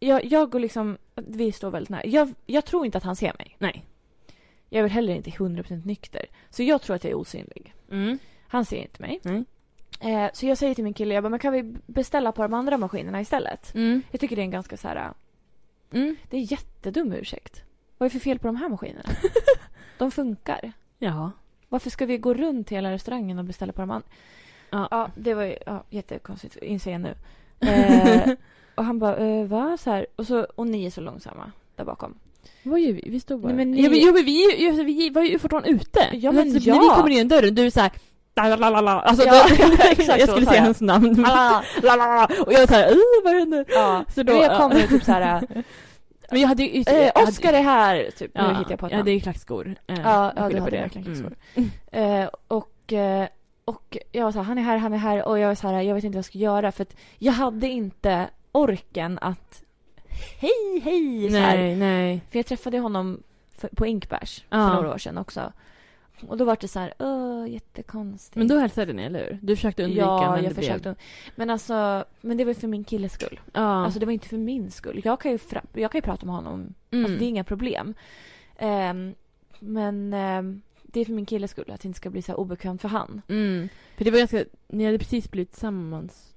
jag, jag går liksom... Vi står väldigt nära. Jag, jag tror inte att han ser mig.
Nej.
Jag är väl heller inte 100% nykter. Så jag tror att jag är osynlig.
Mm.
Han ser inte mig.
Nej.
Eh, så jag säger till min kille, jag bara, men kan vi beställa på de andra maskinerna istället?
Mm.
Jag tycker det är en ganska så här, äh,
Mm.
det är en jättedum ursäkt. Vad är för fel på de här maskinerna? de funkar.
Ja.
Varför ska vi gå runt hela restaurangen och beställa på de andra?
Ja.
Ja, det var ju ja, jättekonstigt, inser jag nu. Eh, och han bara, eh, va? Så här. Och, så, och ni är så långsamma där bakom.
Vad gör vi? Vi stod bara...
Nej, men ni-
ja, men, jo, men vi, är ju- alltså, vi var ju fortfarande ute.
Ja, men
Alltså,
ja.
När vi kommer in i dörren, du är så här...
Lalalala. Alltså,
Ja,
det,
exakt
jag
så
skulle
sa
säga
jag.
hans namn.
Ah,
Lalalala. Och jag var såhär,
"Äh,
"Ih, vad händer?
ja.
Så äh,
Men jag
ja.
kommer ju typ så här.
Men jag hade ju...
Eh,
jag hade-
Oscar är här! Typ.
Ja,
nu hittar jag på ett
Jag
namn.
hade ju klackskor. Eh,
ja,
jag
du
skyller
hade
på det.
verkligen klackskor.
Eh, och, eh, och jag var så här, han är här, han är här och jag var så här, jag vet inte vad jag ska göra för att jag hade inte orken att hej, hej så här.
Nej, nej.
För jag träffade honom för, på Inkbärs
Ja.
för några år sedan också. Och då var det så här, åh, jättekonstigt.
Men då hälsade ni, eller hur? Du försökte undvika,
ja,
men
jag
det
försökte. Men alltså, men det var ju för min killes skull.
blev... Ja.
Alltså det var inte för min skull. Jag kan ju, fra- jag kan ju prata med honom
mm.
Alltså, det är inga problem. Ehm, men ehm, det är för min killes skull, att det inte ska bli så här obekvämt för han.
mm. För det var ganska... Ni hade precis blivit tillsammans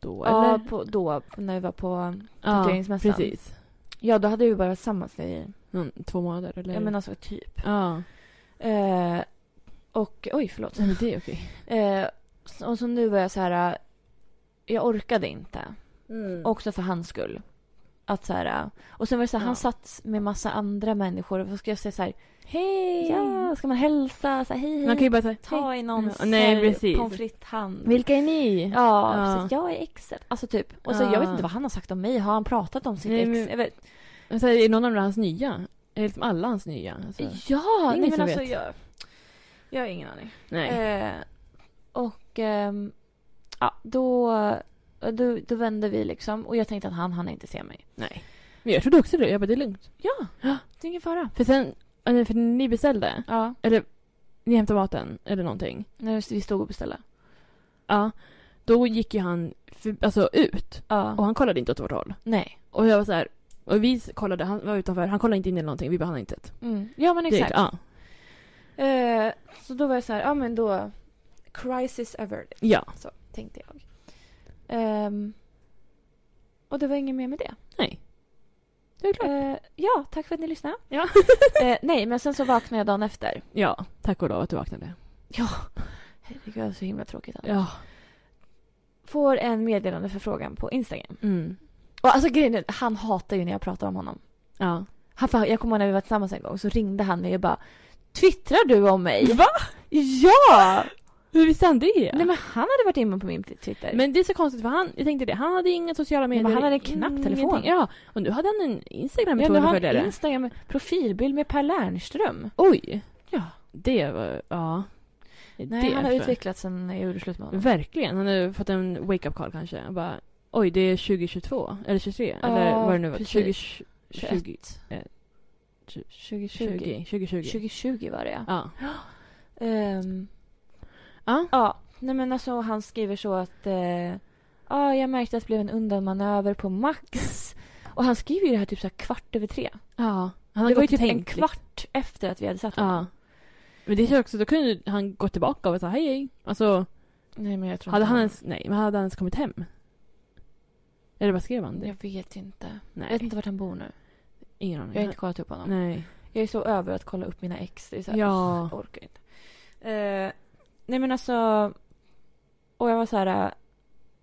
då,
Ja,
eller?
på, då när vi var på
Ja,
tatueringsmässan.
precis.
Ja, då hade vi bara varit tillsammans i,
Mm, två månader, eller?
ja men alltså typ.
ja.
Eh, och, oj förlåt.
Nej, men det är okej.
Eh, så- och så nu var jag så här, eh, jag orkade
Mm.
inte. Också för hans skull. Att så här, eh, och sen var det så här,
Ja.
han satt med massa andra människor. Vad ska jag säga så här,
Hej!
ja, ska man hälsa? Så här, hej, hej.
Man kan ju bara säga,
Ta i någons
Ja, nej,
eh,
precis.
pommes frites-hand.
Vilka är ni?
Ja,
Ja.
precis. Jag är exet. Alltså typ. Och så
Ja.
jag vet inte vad han har sagt om mig. Har han pratat om sitt
Nej,
ex?
men-
Jag vet.
Och Så här, är någon av hans nya? Är det liksom alla hans nya? Alltså,
Ja,
ingen
nej, men
som
alltså
vet.
jag... Jag har ingen aning.
nej.
Eh, och ehm, ja, då, då, då vände vi liksom. Och jag tänkte att han hann inte se mig.
nej. Men jag trodde också det. Jag bara, det är lugnt.
Ja, det är ingen fara.
För sen, ja, nej, för ni beställde.
Ja,
Ni hämtade maten eller någonting.
när vi stod och beställde.
Ja. Då gick ju han för, alltså, ut.
Ja.
Och han kollade inte åt vårt håll.
nej.
Och jag var så här. Och vi kollade, han var utanför. Han kollade inte in eller någonting. Vi behandlade inte ett.
Mm. Ja, men exakt.
Direkt, Ja.
Eh, så då var jag så här, ja men då... Crisis averted.
ja.
Så tänkte jag. Ehm, och det var inget mer med det.
Nej. Det är klart.
Eh, ja, tack för att ni lyssnade.
Ja.
Eh, nej, men sen så vaknade jag dagen efter.
Ja. Tack och lov att du vaknade.
Herregud, det är så himla tråkigt. annars.
Ja.
Får en meddelande förfrågan på Instagram.
Mm.
Och alltså grejen är, han hatar ju när jag pratar om honom.
Ja.
Han, fan, jag kommer ihåg när vi var tillsammans en gång så ringde han mig och bara Twittrar du om mig? Va? Ja!
Hur visste han det?
Nej men han hade varit inne på min Twitter.
Men det är så konstigt för han, jag tänkte det, han hade inga sociala medier.
men han hade knappt telefon.
ingenting. Ja, och nu hade han en Instagram med
jag har
200
en
följare.
Instagram profilbild med Per Lernström.
Oj!
Ja.
Det var, ja.
Nej,
Det
han har
för-
utvecklats sen jag gjorde slut med honom.
Verkligen, han har ju fått en wake-up call kanske. Han Bara, oj det är 2022, eller 23,
Ja,
eller vad det nu var.
precis.
20, 20,
21.
eh,
2020.
20, 2020.
2020 var det ja.
Ja.
Ehm,
Ja.
ja, nej men alltså han skriver så att eh, ja, jag märkte att det blev en undanmanöver på Max. Och han skriver ju det här typ så här kvart över tre.
ja. Han har
det var ju
gått och
typ en
tänkt. liksom.
kvart typ. efter att vi hade satt honom.
Ja. Men det är ju också, då kunde han gå tillbaka och säga hej hej. Alltså,
Nej men jag tror
hade
inte
han ens, nej, men hade han ens kommit hem? Eller vad skrev han? Det?
Jag vet inte. Jag vet
Nej,
inte vart han bor nu.
ingen aning.
Jag har inte kollat upp honom.
Nej.
Jag är så över att kolla upp mina ex. Det är så här,
Ja.
Jag orkar inte. Eh, nej men alltså. Och jag var så här. eh,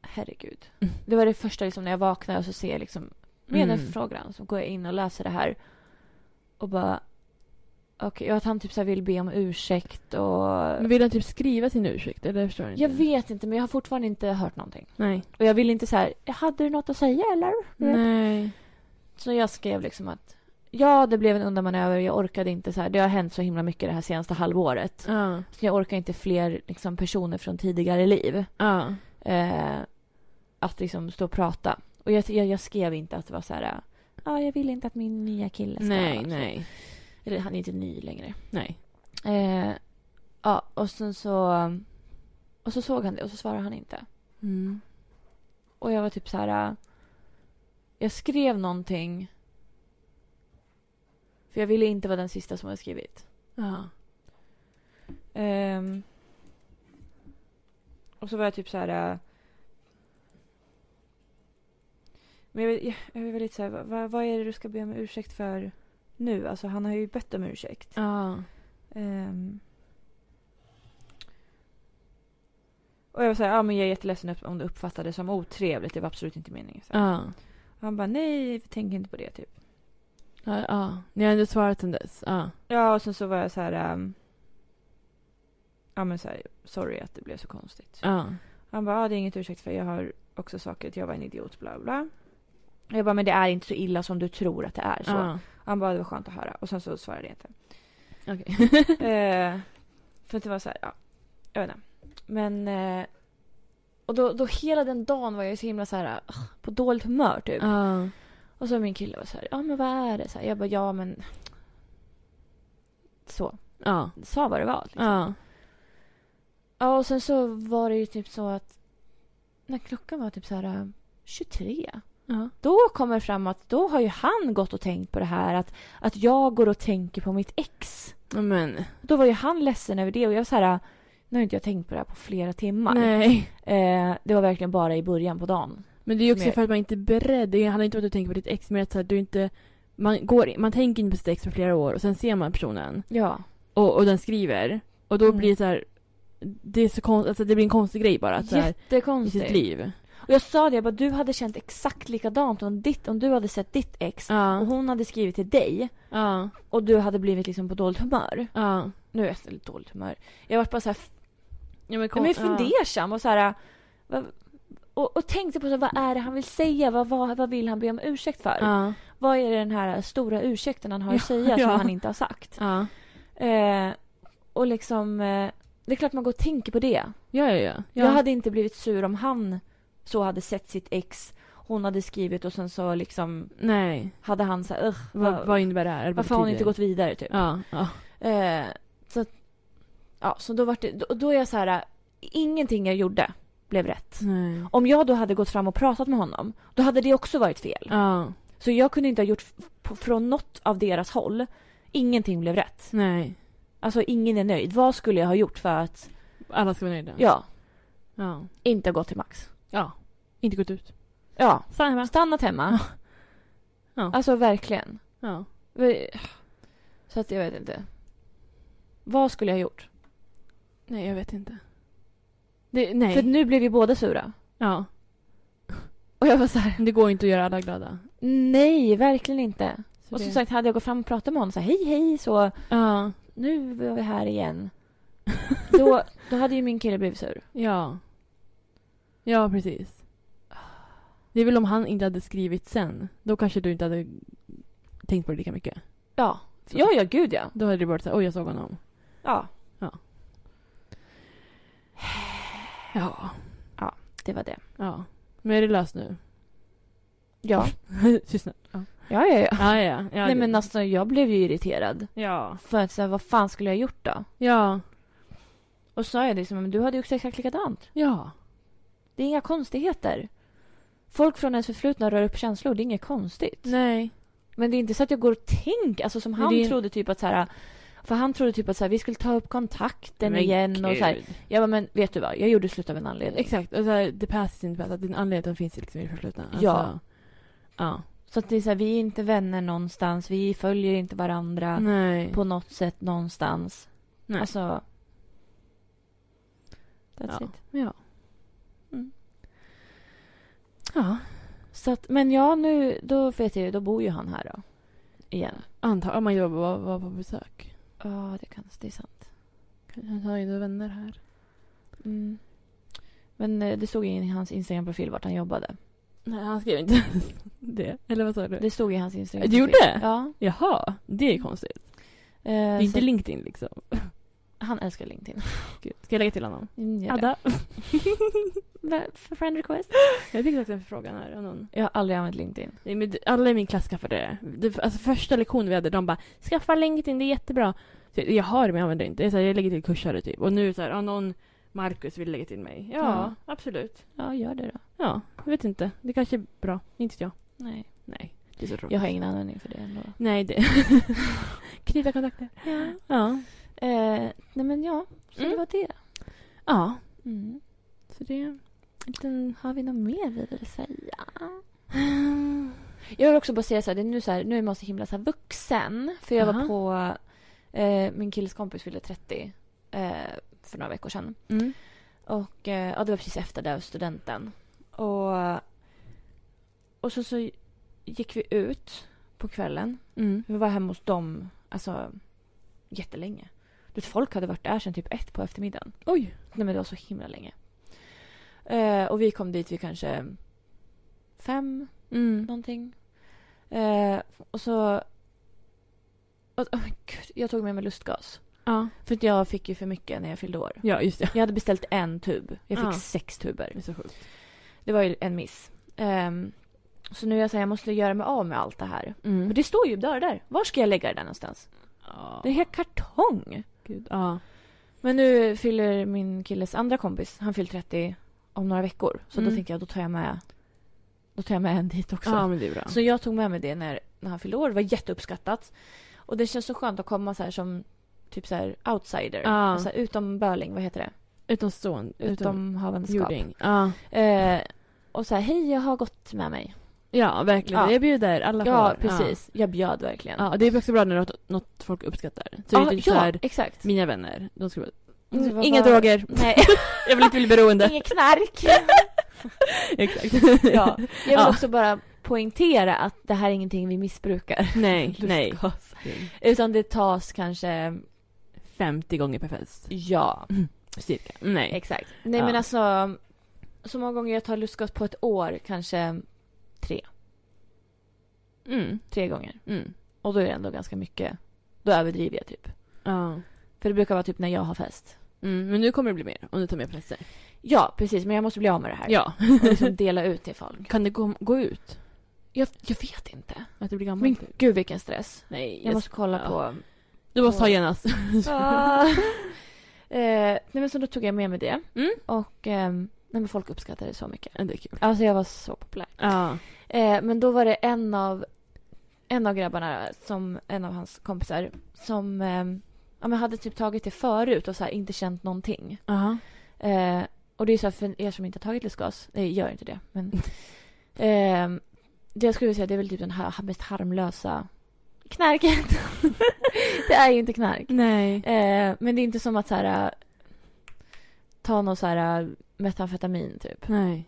Herregud.
Mm.
Det var det första liksom, när jag vaknade och så ser jag liksom med
Mm.
den frågan. Så går jag in och läser det här. Och bara. Okej, och att han typ så här vill be om ursäkt och.
Men vill han typ skriva sin ursäkt? Eller jag förstår inte.
Jag vet inte men jag har fortfarande inte hört någonting.
Nej.
Och jag vill inte så här. Hade du något att säga eller?
Nej.
Så jag skrev liksom att. Ja, det blev en undanmanöver. Jag orkade inte så här. Det har hänt så himla mycket det här senaste halvåret.
Ja.
Så jag orkar inte fler liksom, personer från tidigare liv
Ja.
eh, att liksom stå och prata. Och jag, jag, jag skrev inte att det var så här... eh, Ja, jag vill inte att min nya kille ska...
Nej, nej.
Eller han är inte ny längre.
Nej.
Eh, ja, och sen så... Och så såg han det och så svarade han inte.
Mm.
Och jag var typ så här... eh, Jag skrev någonting. För jag ville inte vara den sista som hade skrivit.
Ja.
Ehm. och så var jag typ så här... äh, men jag, vet- jag, jag var lite så här, vad, vad- vad är det du ska be om ursäkt för nu? Alltså han har ju bett om ursäkt.
Ja.
Ehm. och jag var så här, ja men jag är jätteledsen upp- om du uppfattade det som otrevligt. Det var absolut inte meningen. Så här.
Ja.
Han bara, nej, tänk inte på det typ.
Ja. ja. Ni har ändå svarat sen dess. Ja.
Ja, och sen så var jag så här... ehm, Ja, ja men så här, sorry att det blev så konstigt.
Ja.
Han bara, ah, det är inget ursäkt för jag har också saker, att jag var en idiot, bla bla. Jag bara, men det är inte så illa som du tror att det är. Så.
Ja.
Han bara, det var skönt att höra. Och sen så svarade jag inte.
Okej.
Eh, för att det var så här, ja. Jag vet inte. Men... Eh, och då, då hela den dagen var jag så himla så här, ah, på dåligt humör typ.
Ja.
Och så min kille var så här, ja men vad är det? Så här, jag bara, ja men... Så.
Ja.
Sa vad det var. Liksom.
Ja.
Ja, och sen så var det ju typ så att när klockan var typ så här eh, 23.
Ja.
Då kommer det fram att då har ju han gått och tänkt på det här att, att jag går och tänker på mitt ex.
Ja, Men.
Då var ju han ledsen över det och jag var så här, "Ah, nu har inte jag tänkt på det här på flera timmar.
Nej.
Eh, det var verkligen bara i början på dagen.
Men det är ju också
Som jag-
för att man inte är beredd. Det handlar inte om att du tänker på ditt ex, men att så här, du inte... Man, går, man tänker inte på sitt ex för flera år och sen ser man personen
Ja.
och, och den skriver. Och då
Mm.
blir det så här... Det, är så konst, alltså, det blir en konstig grej bara. Att, så här, I sitt
Jättekonstigt.
liv.
Och jag sa det, jag bara, du hade känt exakt likadant om, ditt, om du hade sett ditt ex och
Ja.
hon hade skrivit till dig
Ja.
och du hade blivit liksom på dåligt humör.
Ja.
Nu är jag så lite dåligt humör. Jag var bara så här,
Ja, men,
Ja,
kon-
men
ja.
fundersam och så här... Vad, och, och tänkte på så här, vad är det han vill säga? Vad, vad, vad vill han be om ursäkt för?
Ja.
Vad är det den här stora ursäkten han har att
Ja,
säga som
ja.
han inte har sagt?
Ja.
Eh, och liksom... Eh, det är klart man går och tänker på det.
Ja, ja, ja. ja.
Jag hade inte blivit sur om han så hade sett sitt ex. Hon hade skrivit och sen så liksom
Nej.
hade han så här, "Ugh,
Vad,
vad-
vad innebär det här? Eller vad
varför har hon inte
betyder
gått vidare typ?
det? Ja. Ja.
Eh, så att, ja, så då var det, då, då är jag så här, eh, ingenting jag gjorde blev rätt.
Nej.
Om jag då hade gått fram och pratat med honom, då hade det också varit fel.
Ja.
Så jag kunde inte ha gjort f- på- från något av deras håll. Ingenting blev rätt.
Nej.
Alltså ingen är nöjd. Vad skulle jag ha gjort för att,
Alla ska vara nöjda.
ja,
Ja.
inte ha gått till Max?
Ja. Inte gått ut.
Ja,
Stanna hemma.
stannat hemma.
Ja.
Alltså verkligen.
Ja.
Så att jag vet inte. Vad skulle jag ha gjort?
Nej, jag vet inte. Det, nej.
För nu blev vi båda sura.
Ja.
Och jag var så här,
Det går inte att göra alla glada.
nej, verkligen inte.
Så
Och
det-
som sagt, hade jag gått fram och pratat med honom så här, hej, hej, så
Ja.
nu var vi här igen. då, då hade ju min kille blivit sur.
Ja. Ja, precis. Det är väl om han inte hade skrivit sen. Då kanske du inte hade tänkt på det lika mycket.
Ja.
Så-
Ja, ja, gud ja.
Då hade det varit så här, oj, jag såg honom.
Ja,
Ja.
det var det.
Ja. Men är det löst nu?
Ja,
Tystnad. Ja,
ja, ja. ja.
ja. ja, ja
Nej
det-
men alltså jag blev ju irriterad.
Ja.
För att så här, vad fan skulle jag ha gjort då?
Ja.
Och sa jag liksom, men du hade ju också exakt likadant.
Ja.
Det är inga konstigheter. Folk från ens förflutna rör upp känslor, det är inget konstigt.
Nej.
Men det är inte så att jag går och tänker, alltså som
Nej,
han
det är-
trodde typ att så här. För han trodde typ att så här, vi skulle ta upp kontakten
Men
igen och så här.
gud.
Jag bara, men vet du vad, jag gjorde slut av en anledning.
Exakt. Och så här, the past is in the past. Att din anledning finns liksom i det förflutna. Alltså,
Ja.
Ja.
Så att det är så här, vi är inte vänner någonstans, vi följer inte varandra
Alltså- Nej.
på något sätt någonstans.
Nej.
Alltså... That's
ja.
it.
Ja.
Mm.
Ja.
Så att, men ja, nu, då vet jag ju, då bor ju han här då. Igen.
Antar om man jobbar var, var på besök.
Ja, det kan, det är sant.
Han har ju några vänner här.
Mm. Men eh, det stod ju i hans Instagram-profil vart han jobbade.
Nej, han skrev inte det. Eller vad sa du?
Det stod i hans Instagram-profil.
Du gjorde det?
Ja.
Jaha, det är konstigt.
Eh,
Det är
så
inte
att-
LinkedIn liksom.
han älskar LinkedIn.
Gud. Ska jag lägga till honom?
Mm, gör det.
Adda.
Va- För friend request?
Jag fick faktiskt en förfrågan här av någon.
Jag har aldrig använt LinkedIn.
Nej, men det- alla i min klass skaffade det. det. Alltså första lektionen vi hade, de bara “skaffa LinkedIn, det är jättebra”. Så jag, jag har det men jag använder det inte. Det är så här, jag lägger till kursare typ. Och nu så här, ja, någon Marcus vill lägga till mig. Ja,
Ja.
absolut.
Ja, gör det då.
Ja, jag vet inte. Det kanske är bra. Inte vet jag.
Nej.
Nej, det är så tråkigt.
Jag har ingen användning för det ändå.
Nej, det... Knyta kontakter.
Ja.
Ja.
Eh, nej men ja, så
Mm.
det var det.
Ja,
Mm.
så det är en liten...
Har vi något mer vi vill säga?
Mm.
Jag vill också bara säga så här, det är nu, så här, nu är man så himla så här vuxen. För jag var
Aha.
på, eh, min killes kompis fyllde 30 eh, för några veckor sedan.
Mm.
Och eh, ja, det var precis efter det här studenten. Och, och så, så gick vi ut på kvällen.
Mm.
Vi var hemma hos dem alltså, jättelänge. Du vet, folk hade varit där sedan typ ett på eftermiddagen.
Oj!
Nej men det var så himla länge. Eh, och vi kom dit vid kanske fem,
Mm.
någonting. Eh, och så... Och, oh my God, jag tog med mig lustgas.
Ja.
För att jag fick ju för mycket när jag fyllde år.
ja, just det.
Jag hade beställt en tub. Jag fick
Ja.
sex tuber.
Ah. Det är så sjukt.
Det var ju en miss. Ehm, så nu är jag så här, jag måste göra mig av med allt det här.
Mm.
Och det står ju dörr där. Var ska jag lägga det där någonstans?
Ja.
Det är helt kartong.
Gud. Ja.
Men nu fyller min killes andra kompis, han fyller 30 om några veckor. Så
Mm.
då tänkte jag, då tar jag med, då tar jag med en dit också.
ja, men det är bra.
Så jag tog med mig det när, när han fyllde år. Det var jätteuppskattat. Och det känns så skönt att komma så här som typ så här outsider.
Ja.
Alltså, utom böling, vad heter det?
Utomstående.
Utomhavandeskap.
jording. Ja.
Eh, och så här, hej jag har gått med mig.
ja, verkligen.
Ja.
Det bjuder alla
Ja,
får.
precis. Jag bjöd verkligen.
Ja. ja, det är också bra när det är något folk uppskattar. Så det är
ja,
inte så här,
exakt.
mina vänner, de skulle bara,
Mm,
mm,
vad
inga
var-
droger,
Nej,
jag vill inte bli beroende.
inget knark.
Exakt.
ja. Jag vill
Ja.
också bara poängtera att det här är ingenting vi missbrukar.
Nej, nej.
Lustgas. Utan det tas kanske,
50 gånger per fest.
ja,
Cirka. Nej.
exakt. Nej
Mm. Ja.
men alltså, så många gånger jag tar lustgas på ett år, kanske
Mm.
tre gånger.
Mm.
Och då är det ändå ganska mycket. Då överdriver jag typ.
Ja.
För det brukar vara typ när jag har fest.
Mm, men nu kommer det bli mer om du tar med platser.
Ja, precis. Men jag måste bli av med det här.
Ja.
Och liksom dela ut till folk.
Kan det gå, gå ut?
Jag, jag vet inte.
Att det blir gammalt?
Men gud vilken stress.
nej.
Jag måste kolla
Ja.
på...
Du måste ta genast.
Ah. eh, nej men så då tog jag med mig det.
Mm.
Och ehm, nej, men folk uppskattade det så mycket.
Ja, det är kul.
Alltså jag var så populär.
Ja.
Eh, men då var det en av, en av grabbarna, som, en av hans kompisar, som ehm, ja, men hade typ tagit det förut och så här, inte känt någonting.
Aha.
Eh, och det är så här, för er som inte har tagit lustgas, nej gör inte det. Men, ehm, det jag skulle säga det är väl typ den här mest harmlösa knarket. det är ju inte knark.
Nej.
Eh, men det är inte som att så här, äh, ta någon så här äh, metamfetamin typ.
Nej.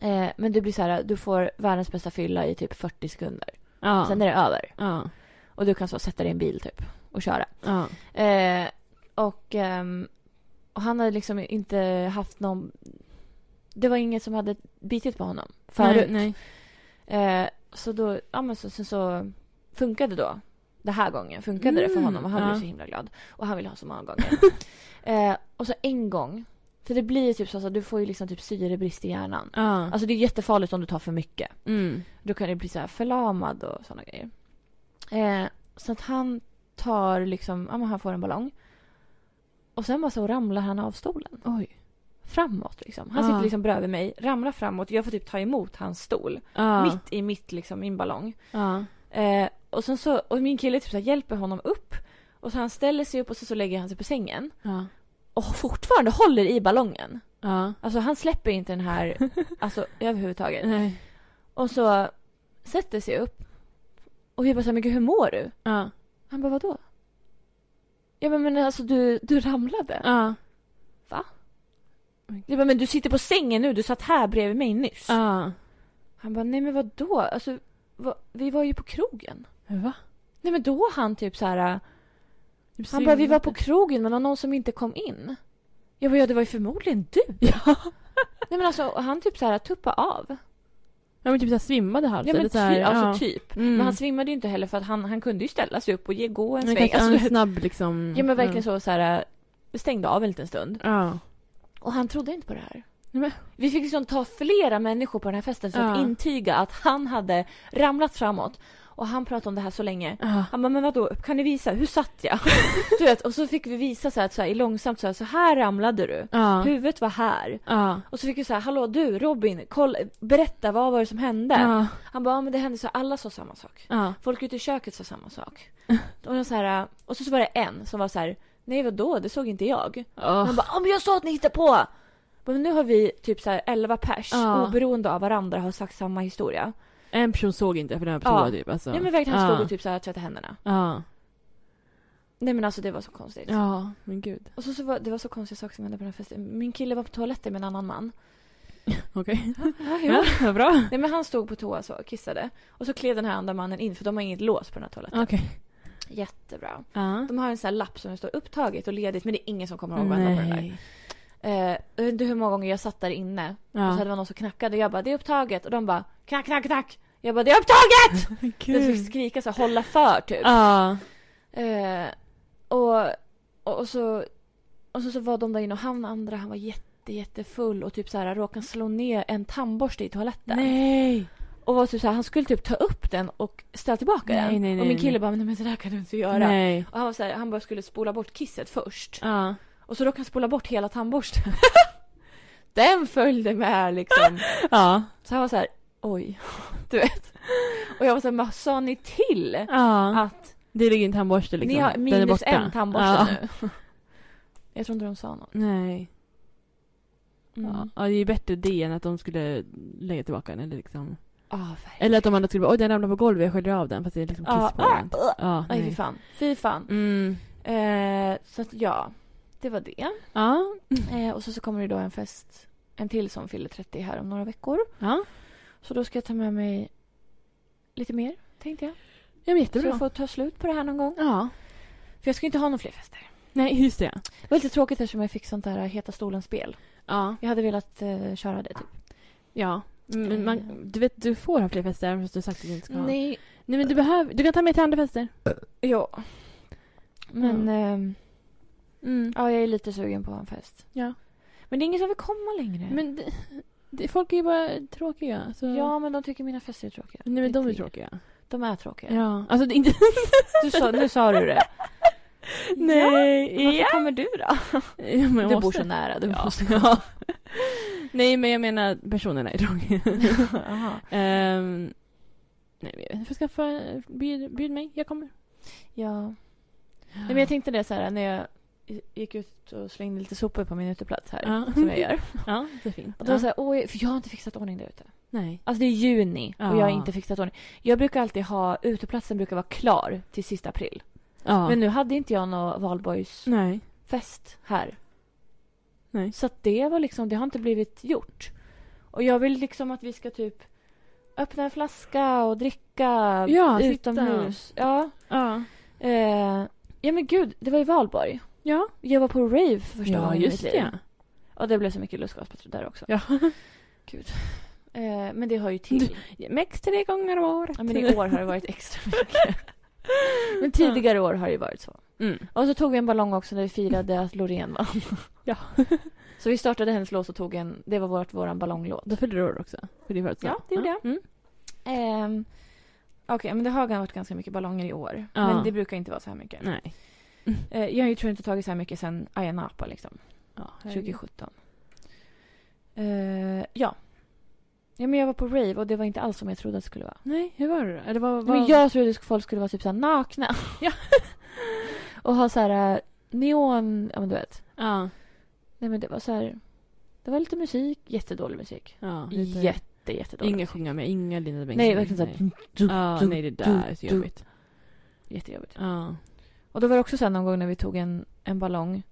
Eh, men det blir så här, du får världens bästa fylla i typ 40 sekunder.
Ja.
Sen är det över.
Ja.
Och du kan så sätta dig i en bil typ och köra.
Ja.
Eh, och, ehm, och han hade liksom inte haft någon... Det var ingen som hade bitit på honom förut.
Nej.
Eh, så då, ja men så, sen så funkade då. Den här gången funkade det för
Mm,
honom och han
ja.
blev så himla glad. Och han ville ha så många gånger. eh, och så en gång. För det blir ju typ så att du får ju liksom typ syrebrist i hjärnan.
Ja.
Alltså det är jättefarligt om du tar för mycket.
Mm.
Då kan det bli så här förlamad och sådana grejer. Eh, så att han tar liksom, ja men han får en ballong. Och sen bara så ramlar han av stolen.
Oj.
Framåt liksom. Han
Ah.
sitter liksom bredvid mig, ramlar framåt. Jag får typ ta emot hans stol.
Ja.
Mitt i mitt liksom, min ballong.
Ja.
Eh, och sen så, och min kille typ så här hjälper honom upp. Och så han ställer sig upp och så, så lägger han sig på sängen.
Ja.
Och fortfarande håller i ballongen.
Ja.
Alltså han släpper inte den här, alltså överhuvudtaget.
Nej.
Och så sätter sig upp. Och vi bara så här, men gud hur mår du?
Ja.
Han bara, vadå? Jag bara, men alltså du, du ramlade.
Ja.
Jag bara, men du sitter på sängen nu, du satt här bredvid mig nyss.
Ja.
Han bara, nej men vadå? Alltså, va, vi var ju på krogen.
Va? Typ
Nej men då han typ så här, han bara, vi var på krogen men det var någon som inte kom in. Jag bara, ja det var ju förmodligen du.
Ja.
Nej men alltså, och han typ så här tuppa av.
Ja men typ såhär svimmade hals.
Ja men
eller
ty,
så här,
alltså typ.
Mm.
Men han svimmade ju inte heller för att han, han kunde ju ställa sig upp och ge, gå en
Men
sväng.
kanske en
Alltså,
snabb liksom.
ja men verkligen så, så här, eh, stängde av en liten stund.
Ja.
Och han trodde inte på det här.
Nej, men-
Vi fick liksom ta flera människor på den här festen för att
Ja.
intyga att han hade ramlat framåt. Och han pratade om det här så länge.
Ja.
Han bara, men vadå, kan ni visa? Hur satt jag? du vet, och så fick vi visa så här, att så här i långsamt så här, så här ramlade du.
Ja.
Huvudet var här.
Ja.
Och så fick vi så här, hallå du Robin, koll, berätta vad var det som hände?
Ja.
Han bara, ja, men det hände så här, alla sa samma sak.
Ja.
Folk ute i köket sa samma sak. och, jag så här, och så, så var det en som var så här, nej vadå, det såg inte jag.
Åh.
Han bara om jag sa att ni hittar på! Men nu har vi typ så här 11 pers,
Ja.
oberoende av varandra, har sagt samma historia.
En person såg inte för den var på
Ja.
toa typ. Alltså.
Nej men verkligen, han
Ja.
stod och typ så här tvättade händerna.
Ja.
Nej men alltså det var så konstigt.
Ja. Men gud.
Och så, så var, det var så konstiga saker som hände på den här festen. Min kille var på toaletten med en annan man.
Okej.
Ja,
Ja, vad bra.
Nej men han stod på toa så, och kissade. Och så klev den här andra mannen in för de har inget lås på den här toaletten.
Okej.
Jättebra.
Ja.
De har en sån här lapp som det står upptaget och ledigt men det är ingen som kommer ihåg att vända på den där.
Nej.
Eh, jag vet inte hur många gånger jag satt där inne och så
Ja.
hade man någon som knackade och jag bara det är upptaget och de bara knack, knack, knack. Jag bara det är upptaget! Jag skulle skrika så här, hålla för typ.
Mm. Ja.
Eh, och, och, och, så, och så, så var de där inne och han andra han var jätte, jättefull och typ så här råkade slå ner en tandborste i toaletten.
Nej.
Och var typ så här, han skulle typ ta upp den och ställa tillbaka
Nej,
den.
nej, nej,
och min
nej.
kille bara men, men så där kan du inte göra.
Nej.
Och han var så här, han bara skulle spola bort kisset först.
Ja.
Och så råkade han spola bort hela tandborsten. den följde med liksom.
Ja.
Så han var så här, oj. Du vet. Och jag var så här, "Men sa ni till?
Ja.
Att
Det ligger en tandborste liksom.
ni har
Den är
minus
borta.
en tandborste
ja.
nu. Jag tror inte de sa något.
Nej. Ja.
Mm.
ja, det är ju bättre det än att de skulle lägga tillbaka den. Eller, liksom.
Ah, verkligen.
eller att de andra skulle bara oj den ramlade på golvet, jag sköljer av den. Fast det är liksom kiss
Ja,
på
ah,
den.
ah.
Ja,
Aj, fy
nej.
fan. Fy fan.
Mm.
Eh, så att ja, det var det.
Ja.
Eh, och så, så kommer det då en fest, en till som fyller 30 här om några veckor.
Ja.
Så då ska jag ta med mig lite mer, tänkte jag.
ja men
Så jag
jättebra.
får ta slut på det här någon gång.
Ja.
För jag ska inte ha några fler fester.
Nej, just det.
Det var lite tråkigt eftersom jag fick sånt där eh, Heta stolen-spel.
Ja.
Jag hade velat eh, köra det, typ.
Ja. Men man, du vet, du får ha fler fester även fast du sagt att du inte ska ha. Nej,
Eh. Nej.
men du behöver, du kan ta med till andra fester.
Ja. Men eh,
Mm.
ja, jag är lite sugen på en fest.
Ja.
Men det är ingen som vill komma längre.
Men det, det, folk är ju bara tråkiga. Så...
Ja, men de tycker mina fester är tråkiga.
Nej, men de är
Riktigt.
tråkiga.
De är tråkiga.
Ja. Alltså, det är inte...
Du sa, nu sa du det.
Nej.
Varför kommer du då?
Ja, men jag
Du
måste.
bor så nära. Du
Ja.
måste.
Ja. Nej, men jag menar personerna är tråkiga. Ehm, nej, men jag får skaffa... Bjud, bjud mig, jag kommer.
Ja. Nej, men jag tänkte det så här när jag gick ut och slängde lite sopor på min uteplats här.
Ja.
Som jag gör.
Ja, det är fint.
Och då var
Ja.
det så här, Oj, för jag har inte fixat ordning där ute.
Nej.
Alltså det är juni och jag har
Ja.
inte fixat ordning. Jag brukar alltid ha, uteplatsen brukar vara klar till sista april.
Ja.
Men nu hade inte jag någon valborgsfest
Nej.
här.
Nej.
Så att det var liksom, det har inte blivit gjort. Och jag vill liksom att vi ska typ öppna en flaska och dricka
Ja, sitta.
utomhus. Ja.
Ja.
Eh, ja men gud, det var ju valborg.
Ja,
Jag var på rave för första
ja
gången i
just
mitt liv.
det.
Och det blev så mycket lustgaspatrullen där också.
Ja.
Gud. Eh, men det har ju till.
Max tre gånger om året.
Ja, men i år har det varit extra mycket. Men tidigare år har det ju varit så.
Mm.
Och så tog vi en ballong också när vi firade att Loreen vann.
Ja.
Så vi startade hennes lås och tog en, det var vårt, våran ballonglåt.
Då fyllde du år också. För din födelsedag.
Ja, det gjorde jag.
Mm.
Ehm, Okej, men det har varit ganska mycket ballonger i år.
Ja.
Men det brukar inte vara så här mycket.
Nej.
Eh, jag har ju tror inte tagit så här mycket sen Ayia Napa liksom.
Ja,
2017. Eh, ja. Ja, men jag var på rave och det var inte alls som jag trodde att det skulle vara.
Nej, hur var det då? Eller vad, vad...
Men jag trodde att folk skulle vara typ så här nakna.
Ja.
och ha så här eh, neon, ja men du vet.
Ja.
Nej men det var så här. Det var lite musik, jättedålig musik.
ja lite-
Jätte, jättedålig.
Inga sjunga med, inga Linda Bengtzing.
Nej, verkligen så här.
Ja, nej det där är så jobbigt.
Jättejobbigt.
Ja.
Och då var det också sen någon gång när vi tog en, en ballong.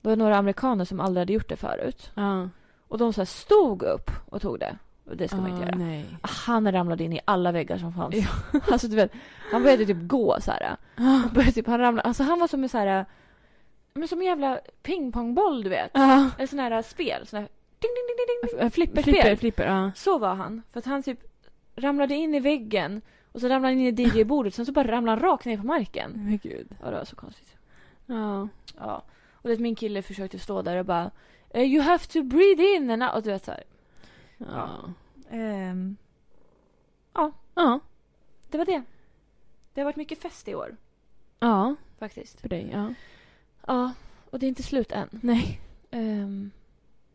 Det var några amerikaner som aldrig hade gjort det förut.
Ja.
Och de så här stod upp och tog det. Och det ska man inte
Ja,
göra.
Ah, Nej.
Han ramlade in i alla väggar som fanns. Alltså du vet, han började typ gå så här.
Ja.
Han, började typ, han, ramlade, alltså, han var som en så här, men som en jävla pingpongboll du vet.
Ja.
Eller sån här spel, sån här ding, ding, ding, ding, ding.
Ah. F- äh, Flipper,
Flipper.
flipper, flipper. Ja.
Så var han. För att han typ ramlade in i väggen och så ramlade han in i DJ-bordet sen så bara ramlade han rakt ner på marken.
Men gud.
Ja, det var så konstigt.
Ja.
Ja. Och det min kille försökte stå där och bara "Eh, You have to breathe in and out. Och du vet så här.
Ja.
Ehm,
Ja.
det var det. Det har varit mycket fest i år
Ja.
faktiskt.
För dig, ja.
Ja, och det är inte slut än.
Nej.
Ehm,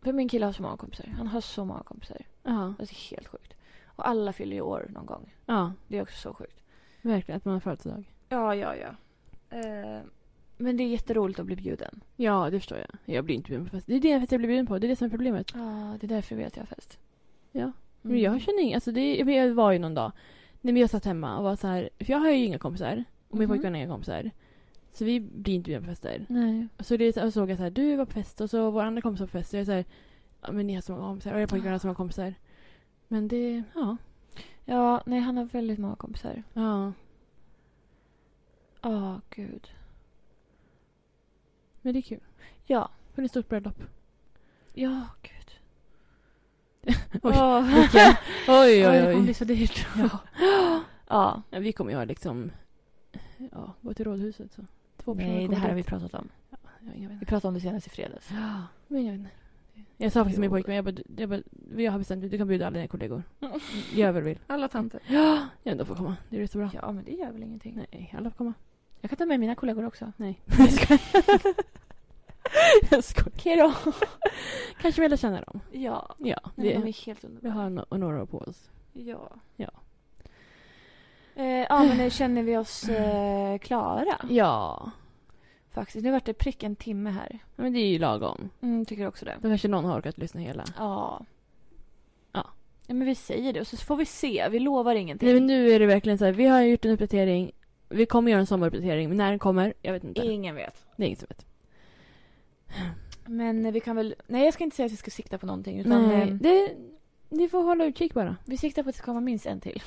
för min kille har så många kompisar. Han har så många kompisar.
Ja.
Det är helt sjukt. Och alla fyller ju år någon gång.
Ja.
Det är också så sjukt.
Verkligen, att man har födelsedag.
Ja, ja, ja. Ehm. men det är jätteroligt att bli bjuden.
Ja, det förstår jag. Jag blir inte bjuden på fest. Det är det jag blir bjuden på. Det är det som är problemet.
Ja, det är därför vi vet jag har fest.
Ja.
Mm.
Men jag känner inget. Alltså det, jag vet, jag var ju någon dag. Nej men jag satt hemma och var så här. För jag har ju inga kompisar. Och min
Mhm.
pojkvän har inga kompisar. Så vi blir inte bjudna på fester.
Nej.
Och så det, är så- och såg jag så här. Du var på fest och så våra andra kompisar var på fest. Och jag är så här. Ja men ni har så många kompisar. Och era pojkvän har så många kompisar. Men det, ja.
Ja, nej han har väldigt många kompisar.
Ja.
Ja, gud.
Men det är kul.
Ja.
Hon är stort bröllop.
Ja, gud.
Oj,
Ja.
vilken- Oj,
Ja,
oj,
det kommer bli
oj.
så dyrt. Ja.
Ja, vi kommer ju ha liksom... Ja, gå till rådhuset så. Två personer
Nej, det
kommer
här har vi
dit.
pratat om.
Ja, jag vet
Vi
inte.
pratade om det senast i fredags.
Men jag vet inte. Jag sa faktiskt till min
Jo.
pojkvän, jag bara, jag bara, vi har bestämt att du kan bjuda alla dina kollegor. Gör vad du vill.
Alla tanter.
Ja, jag ändå får komma. Det är rätt så bra.
Ja, men det gör väl ingenting.
Nej, alla får komma.
Jag kan ta med mina kollegor också.
Nej.
Jag skojar. Jag skojar.
Kanske vill jag känna dem.
Ja.
Ja,
Nej, men
vi,
de är helt
vi
underbara.
har no- några år på oss.
Ja.
Ja.
Eh, ja, men nu känner vi oss eh, klara.
Ja,
Faktiskt. Nu vart det prick en timme här.
men det är ju lagom.
Mm, tycker också det.
Då kanske någon har orkat lyssna hela.
Ja.
Ja.
Ja, men vi säger det och så får vi se. Vi lovar ingenting.
Nej, men nu är det verkligen så här, vi har gjort en uppdatering. Vi kommer göra en sommaruppdatering, men när den kommer, jag vet inte.
Ingen vet.
Det är inget som vet.
Men eh, vi kan väl... Nej, jag ska inte säga att vi ska sikta på någonting. Utan
Nej,
eh,
det, ni får hålla utkik bara.
vi siktar på att det ska komma minst en till.